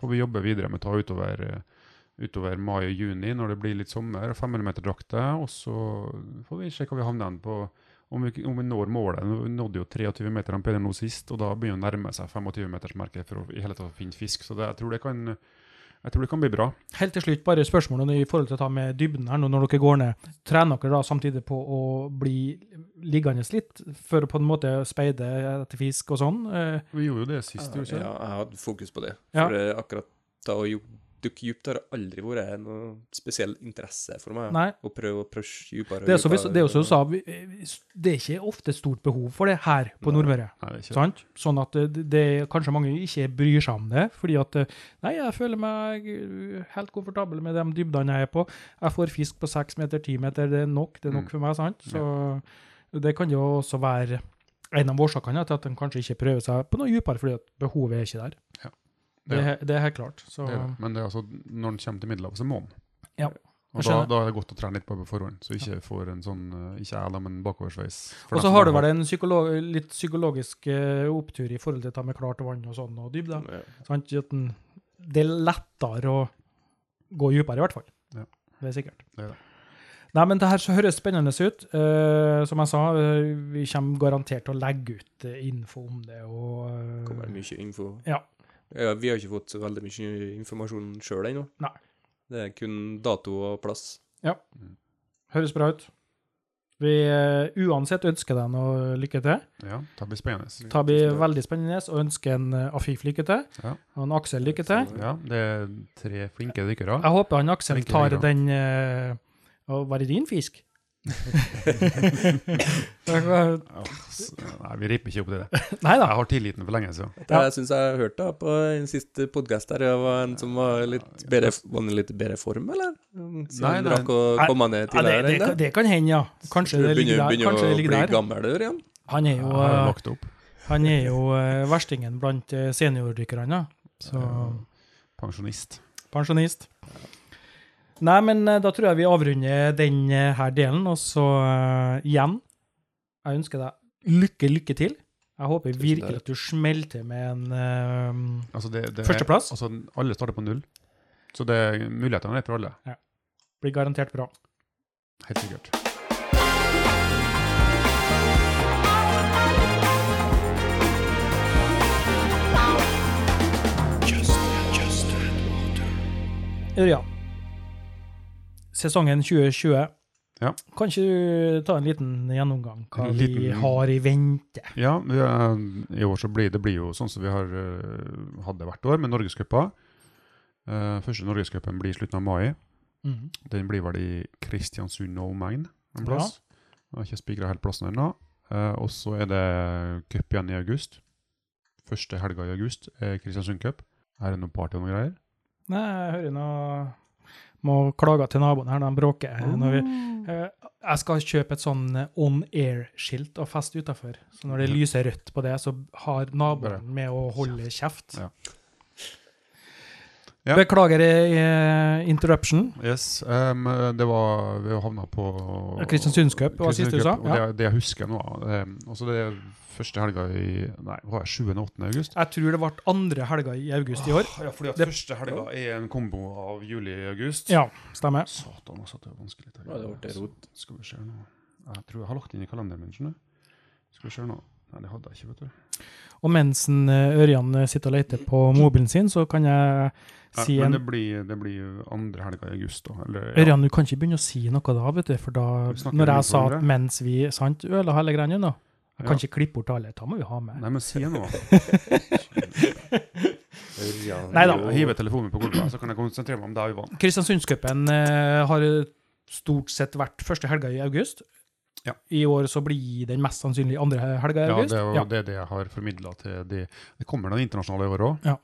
S3: får vi jobbe videre med å ta utover, eh, utover mai og juni når det blir litt sommer, 5 mm-drakter, og så får vi se hva vi havner igjen på. Om vi, om vi når målet. Nå- Vi nådde jo 23 meter ampere nå sist, og da begynner det å nærme seg 25-metersmerket for å i hele tatt finne fisk. Så det, jeg, tror det kan, jeg tror det kan bli bra.
S2: Helt til slutt, bare spørsmålet i forhold til å ta med dybden her nå når dere går ned. Trener dere da samtidig på å bli liggende litt, for å på en måte speide etter fisk og sånn? Eh,
S3: Vi gjorde jo det sist, gjorde vi ikke?
S4: Ja, jeg hadde fokus på det.
S2: Ja.
S4: For eh, akkurat da å ju- dukke dypt har aldri vært noe spesiell interesse for meg.
S2: Nei.
S4: Å prøve å pushe dypere. og
S2: Det er som vi-
S4: dypere.
S2: det er jo som du sa, vi- vi- det er ikke ofte stort behov for det her på Nordmøre.
S3: Nei, det er ikke.
S2: Sant? Sånn at det, det kanskje mange ikke bryr seg om det, fordi at eh, nei, jeg føler meg eh, helt komfortabel med de dybdene jeg er på. Jeg får fisk på seks meter, ti meter, det er nok, det er nok
S3: Mm.
S2: for meg, sant? Så det kan jo også være en av årsakene til at en kanskje ikke prøver seg på noe dypere, fordi at behovet er ikke der.
S3: Ja.
S2: Det, er he- det er helt klart. Så,
S3: Det er det. Men det er altså, når den kommer til Middelhavet, så må den.
S2: Ja, jeg
S3: Og da,
S2: skjønner.
S3: da er det godt å trene litt på på forhånd, så ikke får en sånn eh, Ikke jeg, da, men bakoversveis. For
S2: og så
S3: dem som
S2: har du vel en psykolo- litt psykologisk eh, opptur i forhold til dette med klart vann og sånn, og dybde.
S4: Ja.
S2: Sant? At den- Det er lettere å gå dypere, i hvert fall.
S3: Ja.
S2: Det er sikkert.
S3: Det er det.
S2: Nei, men det her så høres spennende ut. Eh, som jeg sa, eh, vi kommer garantert til å legge ut eh, info om det. Og, eh,
S4: Kommer det mye info.
S2: Ja.
S4: Ja, Vi har ikke fått så veldig mye informasjon sjøl ennå.
S2: Nei.
S4: Det er kun dato og plass.
S2: Høres bra ut. Vi eh, uansett ønsker deg noe lykke til.
S3: Ja, det blir spennende.
S2: Det blir veldig spennende og ønsker en eh, Afif lykke til.
S3: Ja.
S2: Og en Aksel lykke til.
S3: Ja, det er tre flinke dykkere.
S2: Jeg håper han Aksel
S3: Flinke
S2: tar
S3: dykkere.
S2: den eh, Å, Var det din fisk? Nei
S3: Ja, s- Nei, vi ripper ikke opp til det.
S2: da.
S3: Jeg har tilliten for lenge siden.
S4: Det jeg syns jeg har hørt da på den siste podkast der, det var en som var litt bedre, var den i litt bedre form, eller? Som
S3: Nei, nei.
S4: drakk og kom han ned
S2: Ja, det,
S4: tidligere
S2: det,
S4: enn
S2: kan-
S4: det?
S2: det kan hende, ja. Kanskje det ligger
S4: Begynner,
S2: der.
S4: begynner
S2: Kanskje det
S4: å
S2: ligger
S4: bli
S2: der.
S4: gammel der igjen?
S2: Han er jo,
S3: Jeg har
S2: eh,
S3: lagt opp.
S2: han er jo eh, verstingen blant eh, seniordykkerne. ja. Så
S3: Pensjonist.
S2: pensjonist. Nei, men eh, da tror jeg vi avrunder denne her delen, og så eh, igjen Jeg ønsker deg lykke, lykke til. Jeg håper
S4: Tusen
S2: virkelig
S4: takk.
S2: at du smeller til med en eh,
S3: Altså det, det
S2: Førsteplass?
S3: Altså, alle starter på null. Så det, mulighetene er for alle.
S2: Blir garantert bra.
S3: Helt sikkert.
S2: Ørjan, sesongen 2020.
S3: Ja.
S2: Kan ikke du ta en liten gjennomgang hva
S3: En
S2: vi
S3: liten-
S2: har i vente?
S3: Ja, vi, eh, i år så blir det blir jo sånn som vi har eh, hatt det hvert år, med Norgescupa. Eh, første Norgescupen blir i slutten av mai.
S2: Mhm.
S3: Den blir vel i Kristiansund og omegn en plass. Jeg har ikke spikra helt plassen ennå. Eh, og så er det cup igjen i august. Første helga i august er Kristiansund Cup. Her er det noe party og noe greier.
S2: Nei, jeg hører noe Må klage til naboen her, de bråker.
S3: Oh.
S2: Når vi, eh, jeg skal kjøpe et sånn on air-skilt og feste utafor. Så når det
S3: Ja.
S2: lyser rødt på det, så har
S3: Bare-
S2: naboen med å holde kjeft.
S3: Ja. Ja.
S2: Beklager eh, interruption.
S3: Yes, em, det var Vi havna på
S2: Kristiansunds Cup var sist du sa,
S3: Og det, det jeg husker nå um, også Det første helga i Nei, var det 7. og 8. august?
S2: Jeg tror det ble andre helga i august i år.
S3: Ah, Ja, fordi at
S2: Det-
S3: første helga er en kombo av juli og august.
S2: Ja, stemmer.
S3: Satan, altså, det er vanskelig. å ta
S4: Ja, det
S3: igjen.
S4: ble rot.
S3: Skal vi se nå Jeg tror jeg har lagt det inn i kalenderen min. skjønner du. Skal vi se nå Nei, det hadde jeg ikke, vet du.
S2: Og mens en, eh, Ørjan eh, sitter og leter på mobilen sin, så kan jeg
S3: Nei,
S2: si
S3: men
S2: en
S3: det blir, det blir andre helga i august, da. Eller, ja.
S2: Ørjan, du kan ikke begynne å si noe da, vet du, for da
S3: Vi snakker
S2: Når
S3: om
S2: jeg sa
S3: uniformer.
S2: at mens vi sant, øla hele greia nå Jeg kan
S3: Ja.
S2: ikke klippe bort alle, da må vi ha med.
S3: Nei, men si noe.
S2: Nei da.
S3: Hive telefonen på gulvet, så kan jeg konsentrere meg om det jeg vant.
S2: Kristiansundscupen eh, har stort sett vært første helga i august.
S3: Ja.
S2: I år så blir den mest sannsynlig andre helga i
S3: Ja,
S2: august.
S3: det er jo
S2: Ja.
S3: det, det jeg har formidla til de Det kommer noen internasjonale i år òg.
S2: Ja.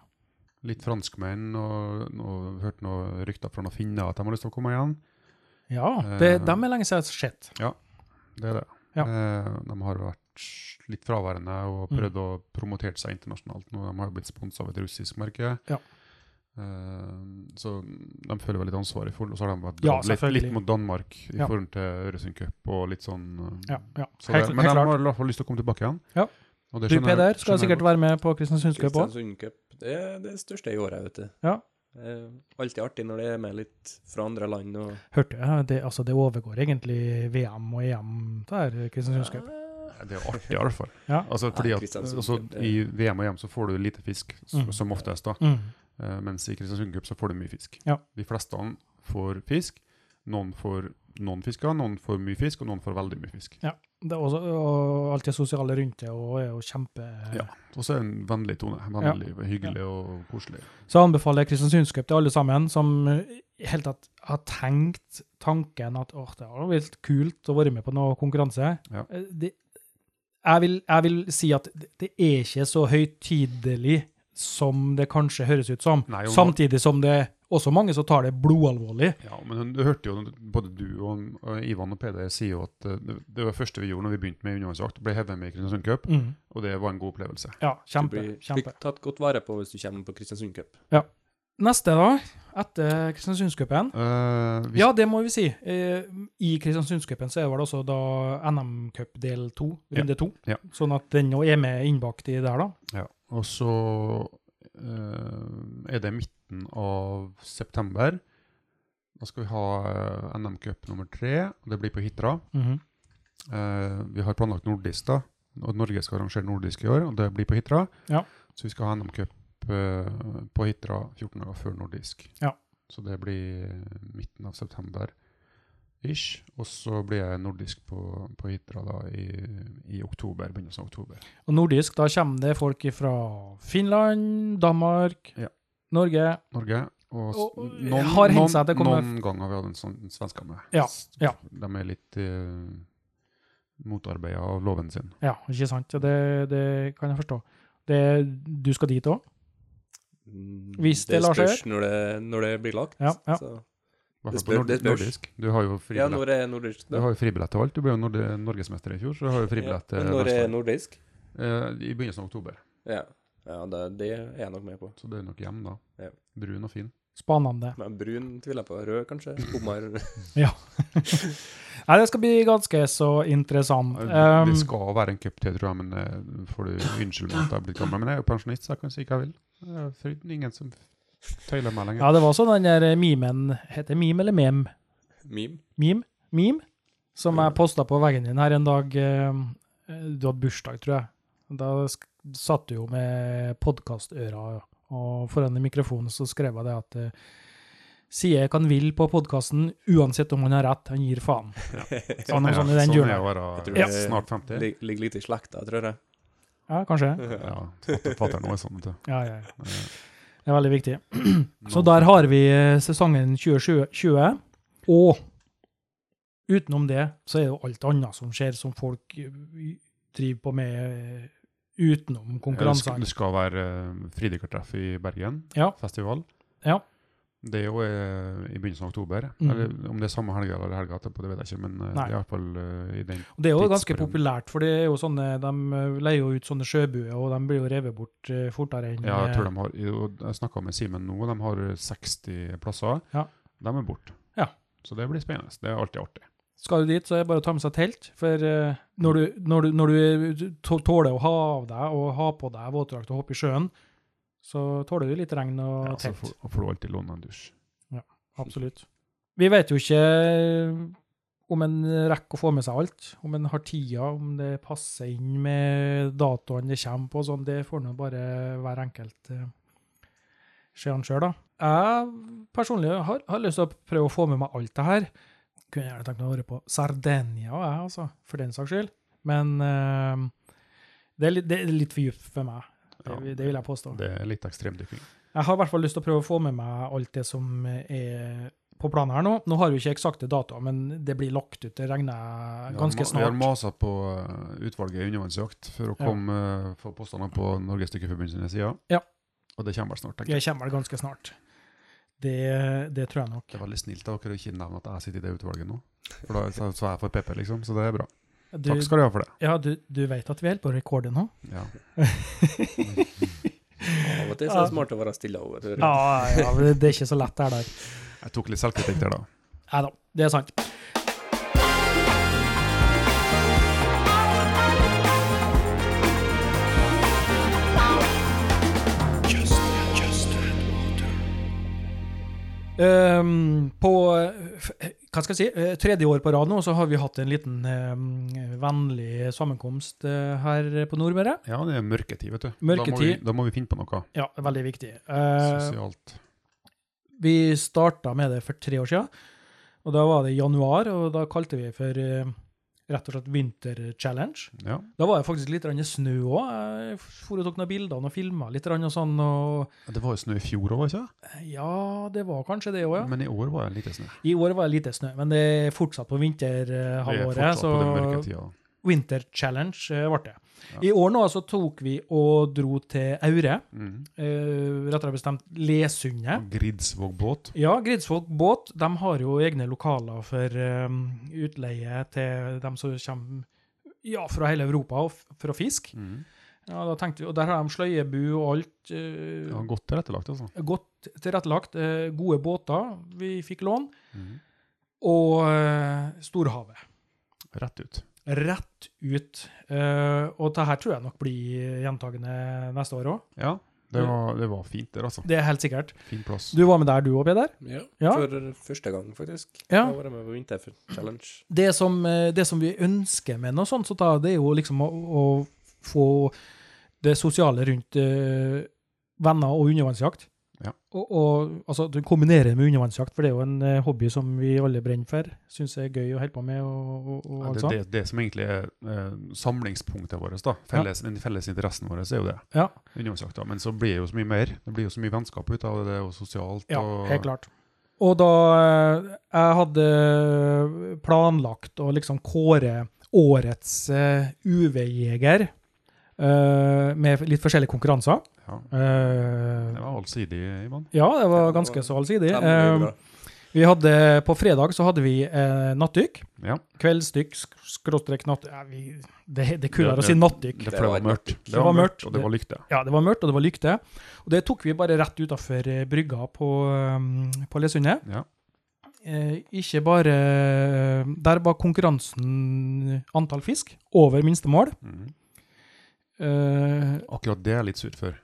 S3: Litt franskmenn, og, og hørt noen rykter fra noen finner at de har lyst til å komme igjen.
S2: Ja,
S3: Eh,
S2: det, dem er lenge siden jeg har sett.
S3: Det er det.
S2: Ja. Mm.
S3: Eh, de har vært litt fraværende og prøvd å promotere seg internasjonalt nå. De har jo blitt sponsa av et russisk merke.
S2: Ja.
S3: Eh, så de føler vel litt ansvar i forhold, og så har de vært
S2: Ja,
S3: dratt litt,
S2: selvfølgelig.
S3: litt mot Danmark i
S2: Ja.
S3: forhold til Øresund Cup og litt sånn eh,
S2: Ja, ja. Helt,
S3: så det,
S2: helt
S3: Men de
S2: klart.
S3: har i hvert fall lyst til å komme tilbake igjen.
S2: Ja.
S3: Og det
S2: Du,
S3: skjønner jeg-
S2: Peder, skal
S3: skjønner jeg
S2: sikkert være med på Kristiansundscup òg.
S4: Kristiansund Cup. Det er det største i året, vet du.
S2: Ja.
S4: Eh, alltid artig når det er med litt fra andre land og
S2: Hørte jeg, det, altså, det overgår egentlig VM og EM, det her Kristiansundscup.
S3: Ja, Det er jo artig, i hvert fall.
S2: Ja.
S3: Altså, fordi
S4: Ja,
S3: at,
S4: Kristiansund
S3: altså,
S4: Cup, det-
S3: I VM og EM så får du lite fisk, s-
S2: Mm.
S3: som oftest, da.
S2: Mm.
S3: Eh, mens i Kristiansund Cup så får du mye fisk.
S2: Ja.
S3: De fleste får fisk. Noen får noen fisker, noen får mye fisk, og noen får veldig mye fisk.
S2: Det er også, og alt det sosiale rundt det og er jo kjempe
S3: Ja. Og så er det en vennlig tone. Vennlig, hyggelig og koselig.
S2: Så jeg anbefaler Kristiansundscup til alle sammen som eh, i hele tatt har tenkt tanken at åh, det hadde vært kult å være med på noe konkurranse.
S3: Ja.
S2: Eh, Det, jeg, vil, jeg vil si at det, det er ikke så høytidelig som det kanskje høres ut som.
S3: Nei, og-
S2: Samtidig som det er også mange som tar det blodalvorlig.
S3: Ja, men du hørte jo, både du og, og Ivan og Peder sier jo at eh, det, det var det første vi gjorde når vi begynte med undervannsjakt, ble hevet med i Kristiansund Cup,
S2: Mm.
S3: og det var en god opplevelse.
S2: Ja,
S4: Du
S2: kjempe.
S4: blir
S2: kjempe.
S4: fikk tatt godt vare på hvis du kommer på Kristiansund Cup.
S2: Neste, da, etter Kristiansundscupen
S3: Eh, vi-
S2: Ja, det må vi si. Eh, I Kristiansundscupen så er det vel også da NM Cup del to, runde to.
S3: Ja.
S2: Sånn at den nå er med innbakt i der, da.
S3: Ja, og så eh, er det midten av september. Da skal vi ha eh, NM-cup nummer tre, og det blir på Hitra.
S2: Mhm.
S3: Eh, vi har planlagt nordisk, da. Og Norge skal arrangere nordisk i år, og det blir på Hitra.
S2: Ja.
S3: Så vi skal ha NM-cup eh, på Hitra 14 dager før nordisk.
S2: Ja.
S3: Så det blir eh, midten av september ish. Og så blir jeg nordisk på, på Hitra da i, i oktober, begynnelsen av oktober.
S2: Og nordisk, da kommer det folk fra Finland, Danmark,
S3: Ja.
S2: Norge.
S3: Norge. Og, s-
S2: Og- og
S3: noen,
S2: har hendt
S3: noen,
S2: seg at det kommer-
S3: noen ganger har vi hatt en sånn en svenske med.
S2: Ja,
S3: S-
S2: ja.
S3: De er litt uh, motarbeida av loven sin.
S2: Ja, ikke sant? Ja, Det, det kan jeg forstå. Det, du skal dit òg?
S4: Mm,
S2: Hvis det lar seg
S4: spørs når det, når det blir lagt.
S2: Ja, ja.
S4: Så.
S3: I
S4: Det
S3: hvert fall på
S4: spør- det
S3: nord-
S4: spørs.
S3: nordisk. Du har jo
S4: ja
S3: fribillett
S4: når er nordisk,
S3: Du
S4: da?
S3: har jo fribillett til alt. Du ble jo nord norgesmester i fjor, så du har jo fribillett
S4: Ja,
S3: til
S4: men når er
S3: neste år.
S4: nordisk?
S3: Eh, I begynnelsen av oktober.
S4: Ja, ja det, det er jeg nok med på.
S3: Så det er nok hjem, da.
S4: Ja.
S3: Brun og fin.
S2: Spanende.
S4: Men brun tviler jeg på. Rød, kanskje? Hummer?
S2: Nei, det skal bli ganske så interessant.
S3: det
S2: Um,
S3: skal være en cup til, tror jeg, men eh, får du unnskylde meg at jeg har blitt gammel. Men jeg er jo pensjonist, så jeg kan si hva jeg vil. Det er for ingen som tøyler meg lenger.
S2: ja, det var også den der memen Heter det meme eller mem?
S4: Meme?
S2: Meme? Meme? Som jeg posta på veggen din her en dag. eh, Du hadde bursdag, tror jeg. Da sk- satt du jo med podkastøra, og foran i mikrofonen så skrev jeg det at eh, Sier hva han vil på podkasten, uansett om han har rett, han gir faen. Så han er sånn i den
S3: sånn er
S2: julen.
S3: jeg å
S4: Jeg tror
S3: være
S4: det
S3: eh,
S4: er-
S3: snart 50.
S4: Lig- Ligger litt i slekta, tror jeg.
S2: Ja, kanskje.
S3: Ja, fatter'n er sånn, vet du.
S2: Ja, ja, ja.
S3: Eh,
S2: Det er veldig viktig. Så
S3: noen-
S2: der har vi eh, sesongen 2020. Og utenom det så er det jo alt annet som skjer, som folk eh, driver på med eh, utenom
S3: Ja, det skal,
S2: konkurransene.
S3: det skal være eh, fridykertreff i Bergen,
S2: Ja.
S3: festival.
S2: Ja.
S3: Det er jo eh, i begynnelsen av oktober.
S2: Mm.
S3: Eller, om det er samme helga eller helga etterpå, det vet jeg ikke, men eh, det
S2: Nei.
S3: er iallfall i den
S2: Og det er jo ganske
S3: tidsperioden.
S2: populært, for det er jo sånne, de eh, leier jo ut sånne sjøbuer, og de blir jo revet bort eh, fortere enn
S3: Ja, jeg tror
S2: eh,
S3: de har jo, Jeg snakka med Simen nå, de har 60 plasser.
S2: Ja.
S3: De er borte.
S2: Ja.
S3: Så det blir spennende. Det er alltid artig.
S2: Skal du dit, så er det bare å ta med seg telt. For eh, når du, når du, når du tå- tåler å ha av deg og ha på deg våtdrakt og hoppe i sjøen, så tåler du litt regn og
S3: Ja, så
S2: telt.
S3: får, får du alltid låne en dusj.
S2: Absolutt. Vi vet jo ikke eh, om en rekker å få med seg alt, om en har tida, om det passer inn med datoene det kommer på. og Sånn. Det får nå bare hver enkelt eh, se han sjøl, da. Jeg personlig har, har lyst til å prøve å få med meg alt det her. Kunne gjerne tenkt meg å være på Sardinia, jeg, altså, for den saks skyld. Men eh, det, er litt, det er litt for dypt for meg. Det,
S3: Ja,
S2: det vil jeg påstå.
S3: Det er litt ekstremdykking.
S2: Jeg har i hvert fall lyst til å prøve å få med meg alt det som er på planen her nå. Nå har vi ikke eksakte datoer, men det blir lagt ut, det regner jeg ganske
S3: Vi har
S2: snart.
S3: masa på eh, utvalget i undervannsjakt for å
S2: Ja.
S3: komme, eh, få postene på Norges Dykkerforbund sine sider.
S2: Ja.
S3: Og det kommer vel snart, tenker jeg.
S2: Det kommer vel ganske snart. Det, det tror jeg nok.
S3: Det er veldig snilt av dere å ikke nevne at jeg sitter i det utvalget nå. For da så, så jeg får pepper, liksom. Så det er bra.
S2: Du,
S3: Takk skal du ha for det.
S2: ja, du, du vet at vi holder på å rekorde nå?
S3: Ja.
S4: Av og til så er det smart å være stille over. hører
S2: Ja, ja, men det er ikke så lett det her der.
S3: Jeg tok litt selvkritikk der, da.
S2: Nei da, det er sant. Um, på eh, f- eh, hva skal jeg si, eh, tredje år på rad nå så har vi hatt en liten eh, vennlig sammenkomst eh, her på Nordmøre.
S3: Ja, det er mørketid, vet du. Da må vi,
S2: Mørketid.
S3: da må vi finne på noe
S2: Ja, veldig viktig. Eh,
S3: sosialt.
S2: Vi starta med det for tre år siden, og da var det i januar, og da kalte vi det for eh, rett og slett Winter Challenge.
S3: Ja.
S2: Da var det faktisk litt grann snø òg. Jeg for og tok noen bilder og filma litt grann og sånn, og
S3: Det var jo snø i fjor òg, ikke sant?
S2: ja, det var kanskje det òg, ja.
S3: Men i år var det lite snø.
S2: I år var det lite snø, men det er fortsatt på
S3: Vi er
S2: vinterhalvåret,
S3: fortsatt på den
S2: så
S3: mørketida.
S2: Winter Challenge eh, ble det. I år nå så tok vi og dro til Aure,
S3: Mm.
S2: eh, rettere bestemt Lesundet.
S3: Og Gridsvåg båt.
S2: Ja, Gridsvåg båt de har jo egne lokaler for um, utleie til dem som kommer ja, fra hele Europa og f- for å fiske.
S3: Mm.
S2: Ja, da tenkte vi, og Der har de sløyebu og alt. eh,
S3: Ja, godt tilrettelagt, altså.
S2: Godt tilrettelagt. eh, gode båter vi fikk lån.
S3: Mhm.
S2: Og eh, storhavet.
S3: Rett ut.
S2: Rett ut. Eh, og det her tror jeg nok blir gjentagende neste år òg.
S3: Ja, Det var, det var fint der, altså.
S2: Det er helt sikkert.
S3: Fin plass.
S2: Du var med der, du òg, Peder?
S4: Ja.
S2: Ja.
S4: For første gang, faktisk.
S2: Ja.
S4: Da var jeg med på vinterchallenge.
S2: det som, eh, det som vi ønsker med noe sånt, så da, det er jo liksom å, å få det sosiale rundt eh, venner og undervannsjakt.
S3: Ja.
S2: Og, og altså, at du kombinerer det med undervannsjakt, for det er jo en eh, hobby som vi alle brenner for. Syns er gøy å holde på med. Og, og, og altså?
S3: Ja,
S2: alt
S3: det,
S2: sånt.
S3: det, det som egentlig er eh, samlingspunktet vårt, da. Felles, Den felles interessen vår er jo det.
S2: Ja.
S3: Undervannsjakta. Men så blir det jo så mye mer. Det blir jo så mye vennskap ut av det, og sosialt.
S2: Ja,
S3: og,
S2: helt klart. Og da eh, jeg hadde eh, planlagt å liksom kåre årets eh, UV-jeger eh, med litt forskjellige konkurranser
S3: Ja.
S2: Eh,
S3: Det var allsidig, Ivan.
S2: Ja, det var
S4: Det var
S2: ganske så allsidig.
S4: Ja, men det er
S2: Eh,
S4: bra.
S2: vi hadde, på fredag så hadde vi eh, nattdykk.
S3: Ja.
S2: Kveldsdykk, sk- skråstrek natt... Ja, vi, det, det er kulere
S3: Det-
S2: å si nattdykk.
S3: Det,
S4: Det
S3: for det
S4: var
S3: var mørkt.
S2: Det var mørkt.
S3: og det var lykte.
S2: Ja, det var mørkt, og det var lykte. Og det tok vi bare rett utafor brygga på, eh, på Lesundet.
S3: Ja.
S2: Eh, ikke bare eh, Der var konkurransen antall fisk over minstemål.
S3: Mhm.
S2: Eh,
S3: Akkurat det er jeg litt sur for.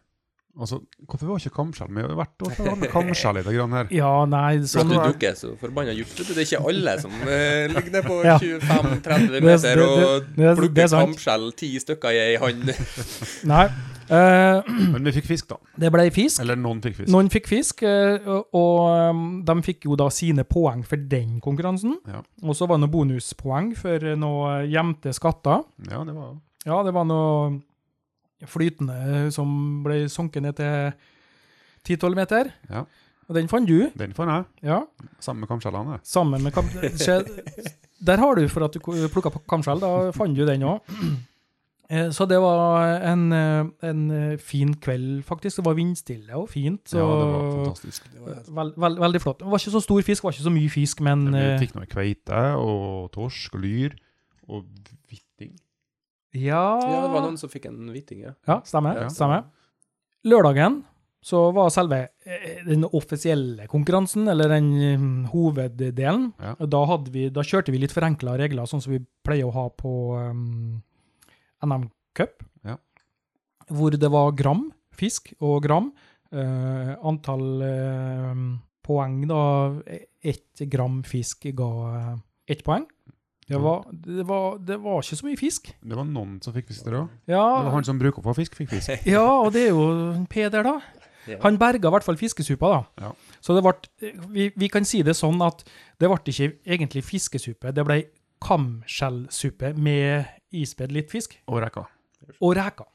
S3: Altså, hvorfor var ikke kamskjell med? Hvert år så var det kamskjell i det grann her.
S2: ja, nei
S4: Sånn
S2: sånn,
S4: du
S2: det,
S4: dukker så forbanna djupt. vet du. Det er ikke alle som eh, ligger ned på
S2: Ja.
S4: 25-30
S2: det,
S4: meter
S2: det,
S4: og
S2: det, det, det
S4: plukker
S2: er sant.
S4: kamskjell ti stykker i ei hand.
S2: Nei. Eh,
S3: Men vi fikk fisk, da.
S2: det ble fisk.
S3: Eller noen fikk fisk.
S2: Noen fikk fisk, eh, og- og um, de fikk jo da sine poeng for den konkurransen.
S3: Ja.
S2: Og så var det noen bonuspoeng for eh, noe gjemte skatter.
S3: Ja, det var
S2: Ja, det var noe flytende som ble sunket ned til 10-12 meter.
S3: Ja.
S2: Og den fant du,
S3: Den fant jeg.
S2: ja.
S3: Sammen med kamskjellene.
S2: Sammen med kam... Skje- Der har du for at du plukka på kamskjell, da fant du den òg. Så det var en, eh, en eh, fin kveld, faktisk. Det var vindstille og fint. Så
S3: Ja, det var fantastisk.
S2: Vel- vel- veldig flott. Det var ikke så stor fisk, det var ikke så mye fisk, men
S3: Men,
S2: eh,
S3: vi fikk noe kveite og torsk og lyr og hvitting.
S2: ja,
S4: Ja, det var noen som fikk en hviting, ja.
S2: ja, stemmer.
S3: Ja.
S2: stemmer. Lørdagen så var selve eh, den offisielle konkurransen, eller den mm, hoveddelen.
S3: Ja.
S2: Da, hadde vi, da kjørte vi litt forenkla regler, sånn som vi pleier å ha på um, NM Cup.
S3: Ja.
S2: Hvor det var gram fisk og gram. eh, antall eh, poeng, da Ett gram fisk ga eh, ett poeng. Det var, det, var, det var ikke så mye fisk.
S3: Det var noen som fikk fisk der òg. Det var
S2: Ja,
S3: han som bruker opp av fisk, fikk fisk.
S2: ja, og det er jo en Peder, da.
S4: Ja.
S2: Han berga i hvert fall fiskesupa, da.
S3: Ja.
S2: Så det ble, vi, vi kan si det sånn at det ble ikke egentlig fiskesuppe, det ble kamskjellsuppe med ispedd litt fisk
S3: Og rekka.
S2: og reker.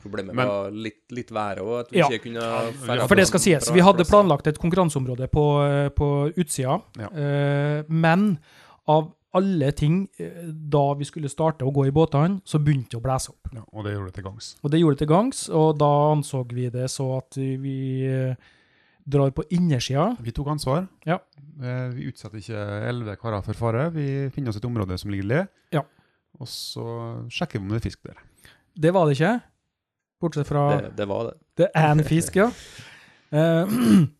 S4: Problemet
S3: Men-
S4: var litt, litt været òg, at vi
S2: Ja.
S4: ikke kunne
S3: Ja,
S2: For det skal sies, vi hadde
S4: planlagt
S2: planlagt et konkurranseområde på, eh, på utsida,
S3: Ja.
S2: eh, men av alle ting, eh, da vi skulle starte å gå i båtene, så begynte det å blæse opp.
S3: Ja, og det gjorde det til gangs.
S2: Og det gjorde det til gangs, og da anså vi det så at vi eh, drar på innersida.
S3: Vi tok ansvar.
S2: Ja.
S3: Eh, Vi utsetter ikke elleve karer for fare. Vi finner oss et område som ligger le,
S2: Ja.
S3: og så sjekker vi om det er fisk der.
S2: Det var det ikke, bortsett fra
S4: det, det var det.
S2: Det er en fisk, ja. Eh,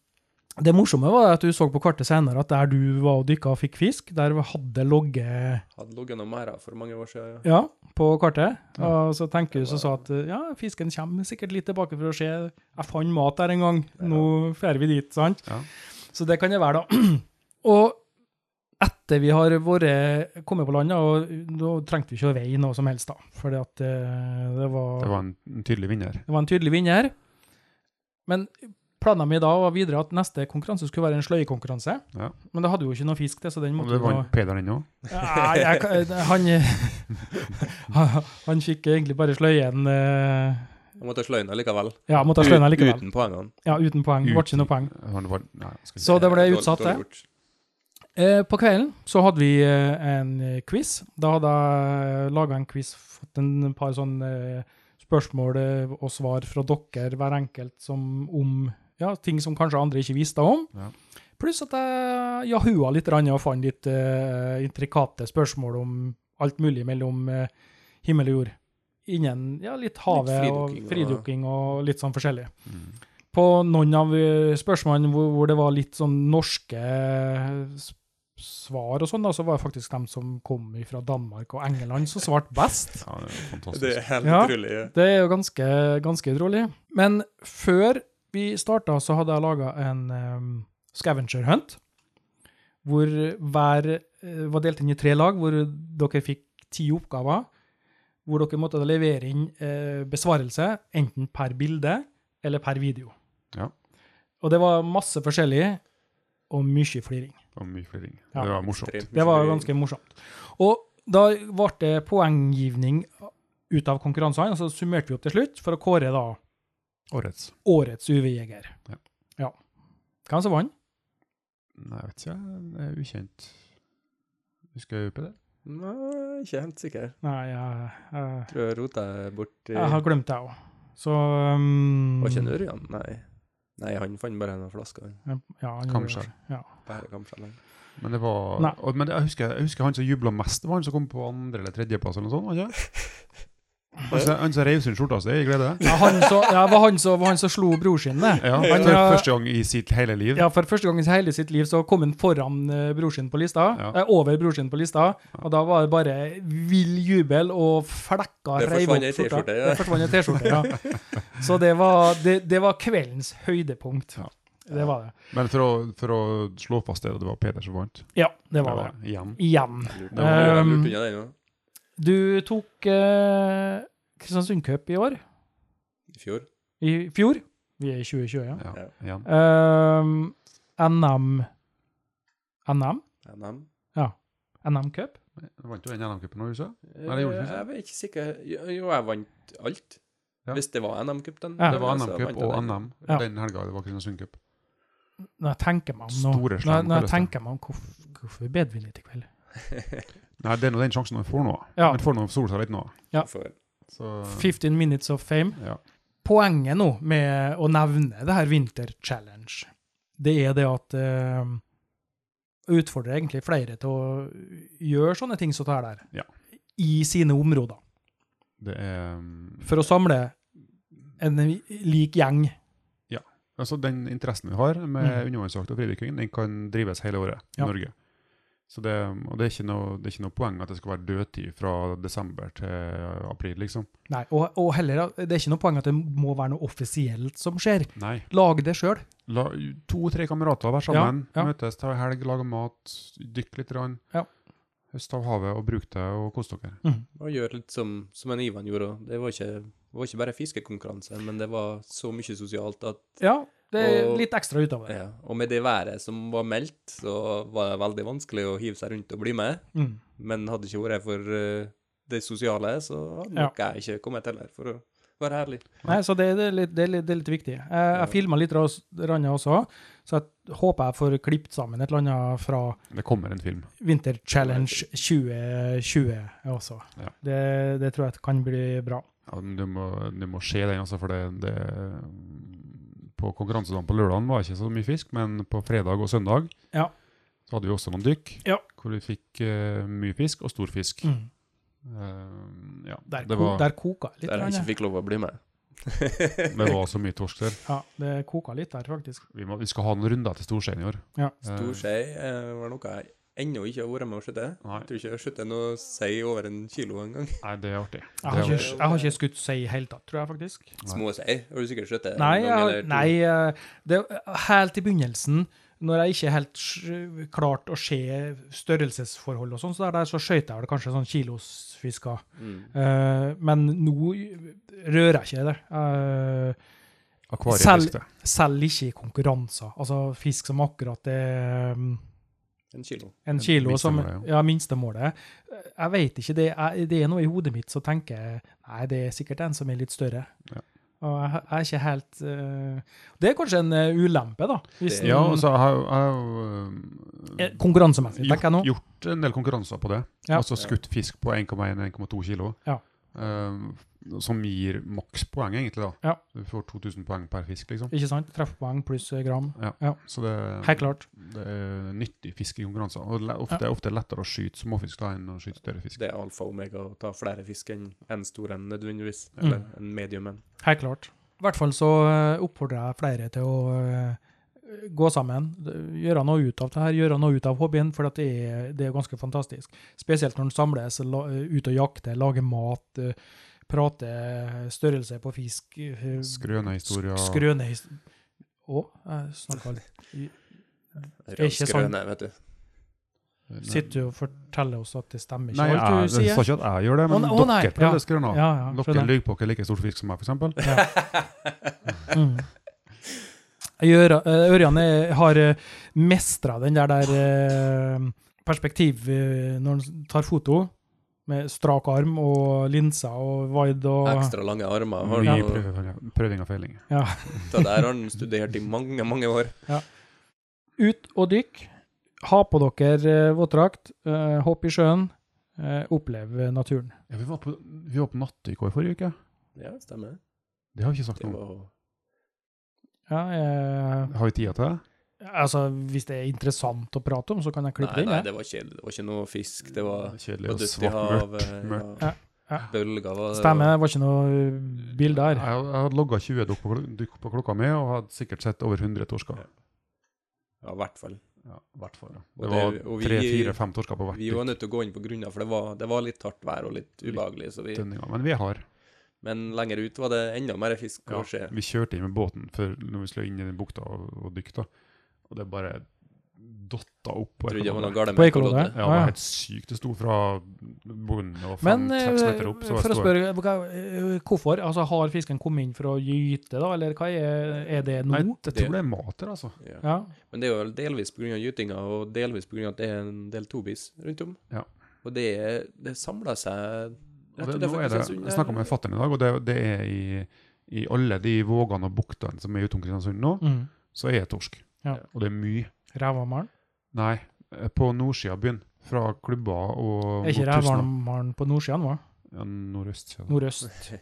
S2: Det morsomme var at du så på kartet senere at der du var og dykka og fikk fisk, der hadde logget
S4: Hadde ligget noen merder for mange år siden.
S2: ja, på kartet. Og så tenker du så sa at ja, fisken kommer sikkert litt tilbake for å se. Jeg fant mat der en gang, nå drar vi dit, sant?
S3: Ja.
S2: Så det kan det være, da. Og etter vi har vært, kommet på land, da, og da trengte vi ikke å veie noe som helst, da. For det, det var
S3: Det var en, en tydelig vinner.
S2: Det var en tydelig vinner. Men planen min da var videre at neste konkurranse skulle være en sløyekonkurranse.
S3: Ja.
S2: Men det hadde jo ikke noe fisk til, så den
S3: Og
S2: måtte
S3: det
S2: jo
S3: vant Peder den òg.
S2: Nei, jeg, kan- han, han fikk egentlig bare sløyen eh,
S4: Jeg måtte slå inn allikevel.
S2: Ja, måtte ha sløyen likevel.
S4: Uten poengene.
S2: Ja, uten poeng. Det ble ikke noe poeng.
S3: Han var, nei, jeg skal ikke si.
S2: Så det ble
S4: Dårlig-
S2: utsatt, det.
S4: dårlig gjort.
S2: Eh, På kvelden så hadde vi eh, en eh, quiz. Da hadde jeg laga en quiz, fått en par sånne eh, spørsmål eh, og svar fra dere, hver enkelt, som om ja, ting som kanskje andre ikke visste om.
S3: Ja.
S2: Pluss at jeg jahua litt grann og fant litt eh, intrikate spørsmål om alt mulig mellom eh, himmel og jord. Innen ja, litt havet
S4: fridykking og-
S2: og fridukking og litt sånn forskjellig
S3: Mm.
S2: på noen av eh, spørsmålene hvor, hvor det var litt sånn norske eh, s- svar og sånn, da, så var det faktisk dem som kom fra Danmark og England som svarte best.
S3: Ja, det er fantastisk.
S4: Det er helt
S2: Ja.
S4: utrolig. ja.
S2: Det er jo ganske, ganske utrolig. Men før vi starta, så hadde jeg laga en um, scavenger hunt, hvor hver eh, var delt inn i tre lag, hvor dere fikk ti oppgaver. Hvor dere måtte levere inn eh, besvarelse, enten per bilde eller per video.
S3: Ja.
S2: Og det var masse forskjellig, og mye fliring.
S3: Det var mye fliring.
S2: Ja.
S3: Det var morsomt.
S4: Ekstremt
S2: Det var
S4: mye.
S2: ganske morsomt. Og da ble det poenggivning ut av konkurransene, og så summerte vi opp til slutt for å kåre da
S3: Årets.
S2: årets UV-jeger.
S3: Ja.
S2: Ja. Hvem som vant?
S3: Nei, jeg vet ikke. Det er ukjent. Husker jeg på det?
S4: Nei, ikke helt sikker.
S2: Nei, jeg, jeg,
S4: Tror jeg rota bort
S2: jeg har glemt det òg. Så um,
S4: Var ikke en ørjan? Nei. Nei, han fant bare en flaske. han.
S2: Ja, han gjorde
S3: Kamskjell.
S2: det. Ja.
S4: Bare kamskjell. han.
S3: Men det var
S2: Nei.
S3: og, Men jeg husker, jeg husker han som jubla mest. Det var han som kom på andre- eller tredjeplass eller noe sånt? var det Ikke? Han som- Han som reiv sin skjorta si i glede.
S2: Ja, han så, ja, var han som var han som slo bror sin, det.
S3: Ja,
S2: Han,
S3: for
S2: ja.
S3: første gang i sitt hele liv.
S2: Ja, for første gang i hele sitt liv så kom han foran eh, bror sin på lista,
S3: Ja.
S2: eh, over bror sin på lista, og da var det bare vill jubel og flekka
S4: Det
S2: reiv
S4: forsvant
S2: opp
S4: ei
S2: skjorta.
S4: T-skjorte, ja.
S2: Det forsvant ei T-skjorte, ja. Så det var, det, det var kveldens høydepunkt.
S3: Ja.
S2: Det var det.
S3: Men for å, for å slå fast det, det var Peder som vant.
S2: Ja, det var det.
S3: Igjen.
S2: Igjen.
S4: Lurt- Det var ørjan
S2: Um,
S4: lurt unna den òg.
S2: Du tok eh, Kristiansund Cup i år.
S4: I fjor.
S2: I fjor. Vi er i 2020, ja.
S4: Ja.
S3: Ja, igjen.
S2: Um, NM NM?
S4: NM.
S2: NM Cup?
S3: Vant jo en NM-cupen nå, husker jeg? Nei, det gjorde du
S4: Eh,
S3: ikke.
S4: Jeg er ikke sikker. Jo, jo, jeg vant alt.
S3: Ja.
S4: Hvis det var NM-cup, den.
S2: Ja.
S3: Det
S4: Men
S3: var
S4: altså,
S3: NM-cup
S4: vant jeg
S3: og
S4: den.
S3: NM
S2: Ja.
S3: den helga. Det var Kristiansund-cup.
S2: Når jeg tenker meg om nå
S3: Store
S2: Når,
S3: slam,
S2: når jeg
S3: kalles det.
S2: tenker meg om hvorfor, hvorfor bed vi litt i kveld?
S3: Nei, det er nå den sjansen han får nå.
S2: Ja.
S3: Han får nå sola seg litt nå.
S2: Ja.
S4: For-
S3: Så
S2: 15 minutes of fame.
S3: ja.
S2: Poenget nå med å nevne det her Winter Challenge, det er det at eh, Utfordrer egentlig flere til å gjøre sånne ting som det her der,
S3: Ja.
S2: i sine områder.
S3: Det er um,
S2: For å samle en lik gjeng.
S3: Altså, den interessen vi har med
S2: Mm.
S3: undervannsjakt og fridykking, den kan drives hele året
S2: Ja.
S3: i Norge. Så det, og det er, ikke noe, det er ikke noe poeng at det skal være dødtid fra desember til april, liksom.
S2: Nei, og, og heller, Det er ikke noe poeng at det må være noe offisielt som skjer.
S3: Nei.
S2: Lag det sjøl.
S3: La to-tre kamerater være sammen,
S2: Ja, ja.
S3: møtes, ta en helg, lage mat, dykke litt. Rann.
S2: Ja.
S3: Høste av havet og bruk det og kos dere.
S4: Og gjøre litt som, som en Ivan gjorde. og Det var ikke, var ikke bare fiskekonkurranse, men det var så mye sosialt at
S2: Ja, det er
S4: Og-
S2: litt ekstra ut av det.
S4: ja. Og med det været som var meldt, så var det veldig vanskelig å hive seg rundt og bli med.
S2: Mm.
S4: Men hadde ikke vært for eh, det sosiale, så hadde
S2: Ja.
S4: nok jeg ikke kommet heller, for å være ærlig.
S2: Nei, så det, det, er litt, det, er litt, det er litt viktig. Eh, Jeg, jeg filma litt ras- rann også, så jeg håper jeg får klippet sammen et eller annet fra
S3: Det kommer en film.
S2: Winter Challenge 2020 også.
S3: Ja.
S2: Det, det tror jeg kan bli bra.
S3: Ja, men du, må, du må se den, altså, for det, det På konkurransedagen på lørdagen var det ikke så mye fisk, men på fredag og søndag
S2: Ja.
S3: så hadde vi også noen dykk
S2: Ja.
S3: hvor vi fikk eh, mye fisk og stor fisk.
S2: Mm.
S3: Eh, ja,
S2: Der,
S3: det,
S2: ko,
S3: var,
S2: der koka litt.
S4: Der jeg
S2: rann,
S4: ikke fikk lov å bli med.
S3: det var så mye torsk der.
S2: Ja, det koka litt der, faktisk.
S3: Vi, må, vi skal ha noen runder til Storsjøen i år.
S2: Ja.
S3: Eh,
S4: Stor skei eh, var noe jeg ennå ikke har vært med å skyte.
S3: Nei.
S4: Jeg tror ikke jeg har skutt noe sei over en kilo engang.
S3: nei, det er artig.
S2: Jeg har
S3: Det er
S2: ikke, jeg har ikke skutt sei i det hele tatt, tror jeg faktisk.
S3: Nei.
S4: Små sei har du sikkert skutt. en
S2: Nei,
S4: gang
S2: jeg, har-
S4: Eh, eller to.
S2: nei eh, det, helt i begynnelsen, når jeg ikke helt sj- klarte å se størrelsesforhold og sånn, så, der- der, så skjøt jeg vel kanskje sånn kilosfisker.
S4: Mm.
S2: Eh, men nå rører jeg ikke det. Eh,
S3: Akvariefisk, det.
S2: selv ikke i konkurranser. Altså fisk som akkurat er mm,
S4: En kilo.
S2: en kilo som
S3: minstemålet,
S2: ja, minstemålet. Eh, Jeg vet ikke, det er, det er noe i hodet mitt som tenker jeg, nei, det er sikkert en som er litt større.
S3: Ja.
S2: Og jeg, jeg er ikke helt eh, Det er kanskje en eh, ulempe, da. Hvis
S3: Ja,
S2: en-
S3: og så har jeg har jo eh,
S2: eh, Konkurransemessig,
S3: gjort,
S2: tenker jeg nå.
S3: gjort en del konkurranser på det.
S2: Ja.
S3: Altså skutt fisk på 1,1-1,2 kilo.
S2: Ja.
S3: Eh, som gir makspoeng, egentlig. da.
S2: Ja.
S3: Du får 2000 poeng per fisk, liksom.
S2: Ikke sant? Treffpoeng pluss eh, gram.
S3: Så det,
S2: Helt klart.
S3: det er nyttig fisk i konkurranser. Og le- ofte, ofte lettere å skyte småfisk da enn å skyte større fisk.
S4: Det er alfa og omega å ta flere fisk enn en stor en nødvendigvis. Eller en medium en.
S2: Helt klart. I hvert fall så eh, oppfordrer jeg flere til å eh, gå sammen, gjøre noe ut av det her, gjøre noe ut av hobbyen, for at det er, det er ganske fantastisk. Spesielt når en samles la, eh, ut og jakter, lager mat, eh, prater størrelse på fisk eh,
S3: Skrønehistorier.
S2: sk- Skrønehis... Å, jeg snakker aldri. er ikke sant.
S4: Rødskrøne, vet du.
S3: Nei.
S2: Sitter du og forteller oss at det stemmer ikke
S3: Nei, jeg,
S2: alt du
S3: jeg sa
S2: sier?
S3: ikke at jeg gjør det, men
S2: Å, å, nei,
S3: dere
S2: ja.
S3: prøver å skrive nå.
S2: Ja, ja,
S3: Dere
S2: skjønner.
S3: lyver på ikke like stor fisk som meg, f.eks.
S2: Mm. Gjøre- eh, Ørjan er- har mestra den der, der eh, perspektiv eh, når han tar foto, med strak arm og linser og wide og
S4: Ekstra lange armer. Har
S3: Mye
S4: han,
S3: prøving- prøving og feiling.
S2: ja.
S4: det der har han studert i mange, mange år.
S2: Ut og dykk. Ha på dere eh, våtdrakt. eh, Hopp i sjøen. eh, Opplev eh, naturen.
S3: Ja, vi var på, vi var på nattdykk også i forrige uke.
S4: Ja, stemmer.
S3: Det har vi ikke sagt
S4: Det
S3: noe om.
S4: var
S2: Ja, eh,
S3: Har vi tida til det?
S2: altså, hvis det er interessant å prate om, så kan jeg
S4: Nei,
S2: klippe det inn.
S4: nei,
S2: jeg.
S4: det var kjedelig. Det var ikke noe fisk. Det var
S3: Kjedelig
S4: var
S3: og
S4: dødt i
S3: svart,
S4: havet.
S3: mørkt. mørkt.
S4: ja.
S2: Ja, ja.
S4: Bølger var det.
S2: Stemmer, det var ikke noe eh, bilde
S3: Jeg,
S2: her.
S3: jeg hadde logga 20 dukk på, klo- dukk på klokka mi og hadde sikkert sett over 100 torsker.
S4: Ja, i hvert fall.
S3: Ja, i hvert fall. Ja.
S4: Og
S3: Det
S4: det-
S3: var
S4: og vi-
S3: tre-fire-fem torsker på hvert
S4: Vi var
S3: dykk.
S4: nødt til å gå inn på grunna, for det var, det var litt hardt vær og litt ubehagelig. Så vi,
S3: Dønninga, Men vi har.
S4: men lenger ut var det enda mer fisk.
S3: Ja,
S4: kanskje.
S3: vi kjørte inn med båten før når vi skulle inn i den bukta og, og dykta, og det bare dotta opp. på
S4: Trodde det var
S3: ekkoloddet.
S4: noe galt
S2: På
S4: med
S2: ekkoloddet?
S4: ekkoloddet.
S3: Ja,
S2: Ah,
S3: det
S2: ja.
S3: var helt sykt. Det sto fra bunnen og
S2: Men
S3: fem-seks
S2: eh,
S3: meter opp. Så
S2: for å
S3: det sto
S2: spørre, hva- eh, hvorfor? Altså, har fisken kommet inn for å gyte, da, eller hva er, er det nå?
S3: Nei, jeg tror det er mat der, altså.
S4: Ja.
S2: Ja.
S4: Men det er jo delvis pga. gytinga, og delvis pga. at det er en del tobis rundt om.
S3: Ja.
S4: Og det, er- det samler seg
S3: Og det, nå er det, jeg snakka med fatter'n i dag, og det, det er i, i alle de vågene og buktene som er utom Kristiansund nå,
S2: Mm.
S3: så er det torsk.
S2: Ja.
S3: Og det er mye.
S2: Rævhamaren?
S3: Nei, eh, på nordsida av byen. Fra klubber og
S2: Er ikke
S3: mot tusen-
S2: rævhamaren på nordsiden, hva?
S3: Ja, nordøst. Ja.
S2: Nordøst?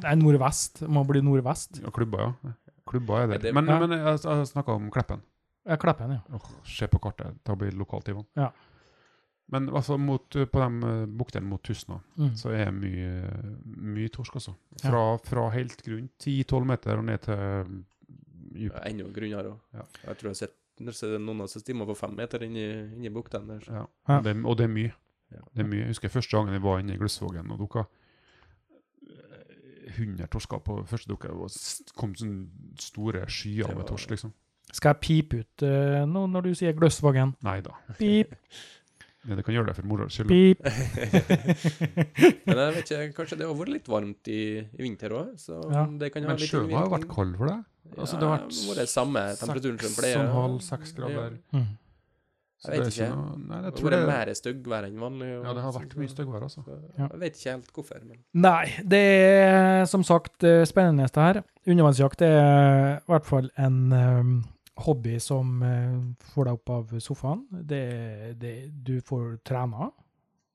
S2: Nei, nordvest. Det Må bli nordvest.
S3: Ja, klubber, ja. Klubber er
S4: Ja,
S3: der.
S4: det-
S3: men,
S2: Ja.
S3: men jeg, jeg snakka om Kleppen.
S2: Jeg klipper den, ja.
S3: Åh, se på kartet, det blir lokalt Ivan.
S2: Ja.
S3: Men altså, mot, på de eh, buktene mot Tustna,
S2: Mm.
S3: så er det mye, mye torsk, altså. Fra, fra helt grunn, 10-12 meter og ned til mm, dypet.
S4: Enda grunnere òg.
S3: Ja.
S4: Jeg tror jeg har sett jeg ser noen av oss stimer på fem meter inni inn bukta. der, så-
S3: Ja.
S2: Ja.
S3: Og Det, og det er mye.
S4: Ja.
S3: Det er mye. Jeg husker første gangen jeg var inne i Gløssvågen og dukka. 100 torsker på første dukka. Det var s- kom sånne store skyer
S4: Det
S3: med
S4: var-
S3: torsk, liksom.
S2: Skal jeg pipe ut eh, nå når du sier Gløssvågen?
S3: Nei da.
S2: Pip,
S3: Men det kan gjøre det for moro skyld.
S2: pip.
S4: Men jeg vet ikke, kanskje det har vært litt varmt i, i vinter òg, så
S2: Ja.
S4: det kan ha
S3: Men
S4: litt
S3: sjøen har jo vært
S4: innvirkning.
S3: kald for deg. Altså, det har vært
S4: ja, vært samme temperaturen som pleier.
S3: Seks og en halv, seks grader.
S2: Mm.
S3: Så
S4: Jeg
S3: det er
S4: vet ikke.
S3: noe- Nei,
S4: Det
S3: jeg
S4: har
S3: tror det,
S4: vært mer styggvær enn vanlig. og-
S3: ja, det har vært mye styggvær, altså.
S2: Ja.
S4: Jeg vet ikke helt hvorfor, men
S2: Nei, det er som sagt eh, spennende det her. Undervannsjakt er i hvert fall en eh, hobby som eh, får deg opp av sofaen. Det, det, du får trena.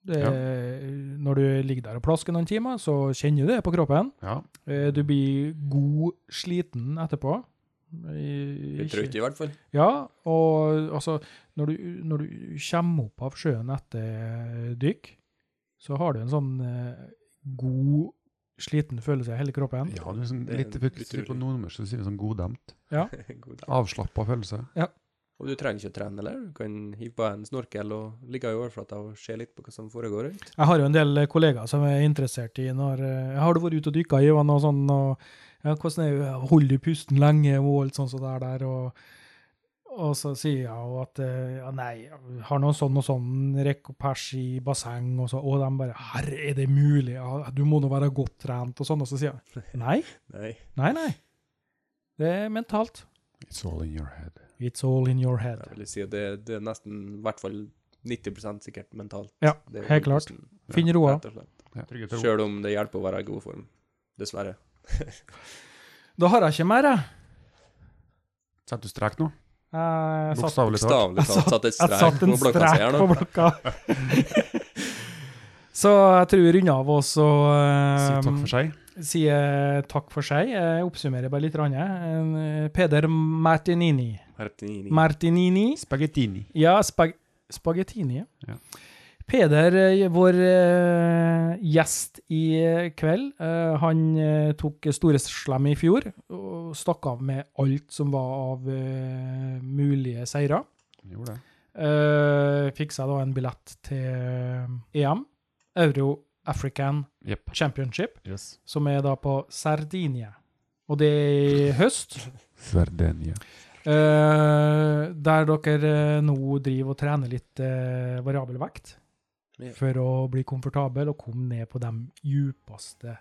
S2: Det,
S3: Ja.
S2: Når du ligger der og plasker noen timer, så kjenner du det på kroppen.
S3: Ja.
S2: Eh, Du blir god sliten etterpå. I-
S4: vi
S2: ikke-
S4: trøtte i hvert fall.
S2: ja, og altså, når du, når du kommer opp av sjøen etter dykk, så har du en sånn eh, god, sliten følelse i hele kroppen.
S3: ja det er sånn,
S4: Det er
S3: litt
S4: utrolig.
S3: utrolig. På nordmørsk så sier vi sånn goddemt.
S4: God dag.
S3: Avslappa følelse.
S4: Og du trenger ikke å trene, eller? Du kan hive på en snorkel og ligge i overflata og se litt på hva som foregår rundt.
S2: Jeg har jo en del kollegaer som er interessert i når eh, Har du vært ute og dykka, Ivan, og sånn, og ja, hvordan er det, holder du pusten lenge, og alt sånt som det er der, og og så sier jeg jo at eh, ja, nei, jeg har noen sånn og sånn rekk og pers i basseng, og så, og de bare Herre, er det mulig? Ja, du må nå være godt trent, og sånn. Og så sier jeg nei,
S4: Nei.
S2: nei, nei. Det er mentalt.
S3: It's all in your head.
S2: It's all in your head.
S4: Jeg vil si at det, det er nesten i hvert fall 90 sikkert mentalt.
S2: Ja,
S4: Det er
S2: helt klart.
S4: impulsen,
S2: Finn roa.
S4: rett og slett.
S3: Ja. Trygghet og ro.
S4: Selv om det hjelper å være i god form. Dessverre.
S2: Da har jeg ikke mer, jeg.
S3: Setter du strek nå?
S2: Jeg satt
S3: Bokstavelig talt.
S4: Bokstavelig
S2: Jeg
S4: talt satt et
S2: Jeg
S4: strek
S2: satt
S4: på
S2: en
S4: blokka si
S2: strek
S4: her
S2: på
S4: nå.
S2: blokka. Så jeg tror vi runder av oss og eh,
S3: Si takk for seg.
S2: sier takk for seg. Jeg oppsummerer bare litt. grann, jeg. En, eh, Peder Martinini.
S4: Martinini.
S2: Martinini.
S3: Spagettini.
S2: Ja, spag spagettini. ja.
S3: Ja.
S2: Peder, eh, vår eh, gjest i eh, kveld, eh, han eh, tok Storeslem i fjor og stakk av med alt som var av eh, mulige seirer.
S3: Han gjorde det.
S2: Eh, fiksa da en billett til eh, EM, Euro African
S3: Jepp.
S2: Championship,
S3: Yes.
S2: som er da på Sardinia. Og det er i høst.
S3: Sardenia.
S2: Eh, der dere eh, nå driver og trener litt eh, variabel vekt
S4: Ja.
S2: for å bli komfortabel og komme ned på de djupeste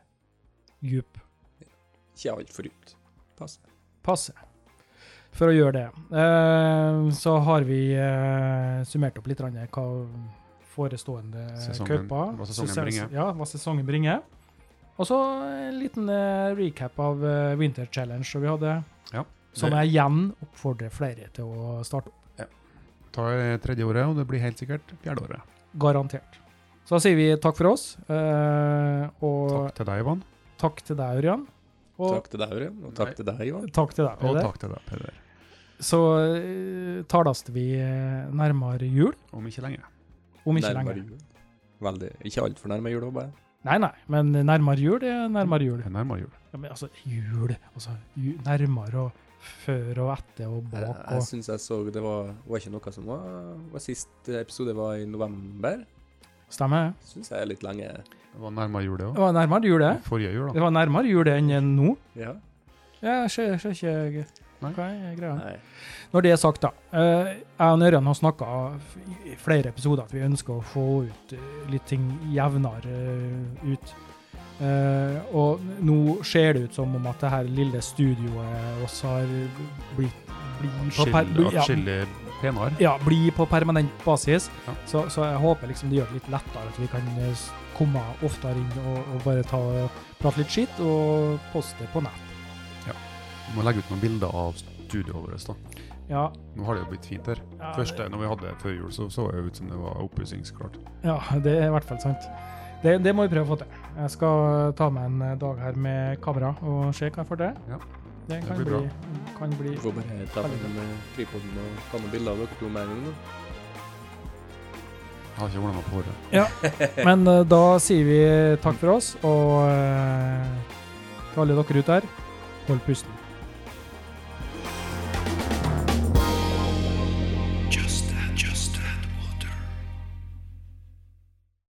S2: djup
S4: Ikke altfor dypt. Pass.
S2: passe. For å gjøre det, eh, så har vi eh, summert opp litt grann hva forestående
S3: Sesongen-
S2: cuper
S3: hva sesongen
S2: sesong-
S3: bringer.
S2: Ja, hva sesongen bringer. Og så en liten eh, recap av eh, Winter Challenge som vi hadde,
S3: Ja.
S2: som jeg igjen oppfordrer flere til å starte
S3: Ta eh, tredje året, og det blir helt sikkert fjerde året.
S2: Garantert. Så da sier vi takk for oss, eh, og
S3: Takk til deg, Ivan.
S2: takk, til deg, Ørjan. Og takk,
S4: Takk til deg, Ørjan, og takk
S3: Nei.
S4: til deg, Ivan.
S2: til deg,
S3: Og
S2: Peder.
S3: takk til deg, Peder.
S2: Så eh, tales vi eh, nærmere jul,
S3: Om ikke lenge.
S2: om ikke
S4: Nærmere
S2: lenger.
S4: jul. Veldig. Ikke altfor nærme jul òg, bare.
S2: Nei, nei, men nærmere jul er nærmere jul.
S3: Det er nærmere jul.
S2: Ja, men altså, jul Altså, ju, nærmere og før og etter og
S4: Jeg,
S3: Eh,
S2: bak
S4: jeg
S2: og
S4: syns jeg så det var, var ikke noe som var, var Sist episode var i november.
S3: eh,
S2: Stemmer det?
S4: Syns jeg er litt lenge.
S3: Det var nærmere jul, det
S2: Det
S3: òg.
S2: var nærmere jul, det.
S3: Forrige jul,
S2: Det
S3: da.
S2: var nærmere jul enn nå.
S4: Ja.
S2: Ja, Jeg ser ser ikke
S3: Nei.
S2: hva er greia.
S4: Nei.
S2: Når det er sagt, da. eh, Jeg og Ørjan har snakka i flere episoder at vi ønsker å få ut eh, litt ting jevnere eh, ut. Eh, og nå ser det ut som om at det her lille studioet oss har blitt blir på per-
S3: Atskillig
S2: ja,
S3: atskillig penere.
S2: ja, bli på permanent basis.
S3: Ja.
S2: Så, så jeg håper liksom det gjør det litt lettere at vi kan eh, s- komme oftere inn og, og bare ta, prate litt skitt og poste på nett.
S3: Vi må legge ut noen bilder av studioet vårt, da.
S2: Ja,
S3: Nå har det jo blitt fint her.
S2: ja,
S3: Første når vi hadde det før jul, så så det jo ut som det var oppussingsklart.
S2: Ja, det er i hvert fall sant. Det, det må vi prøve å få til. Jeg skal ta meg en eh, dag her med kamera og se hva jeg får til.
S3: Ja.
S2: Det
S3: Det
S2: kan
S3: blir
S2: bli,
S3: bra.
S2: kan bli
S4: Vi får bare ta fram med tripoden og ta noen bilder av dere to med en gang. da.
S3: Jeg har ikke ordna meg på håret.
S2: Men eh, da sier vi takk for oss, og eh, til alle dere ute her, hold pusten.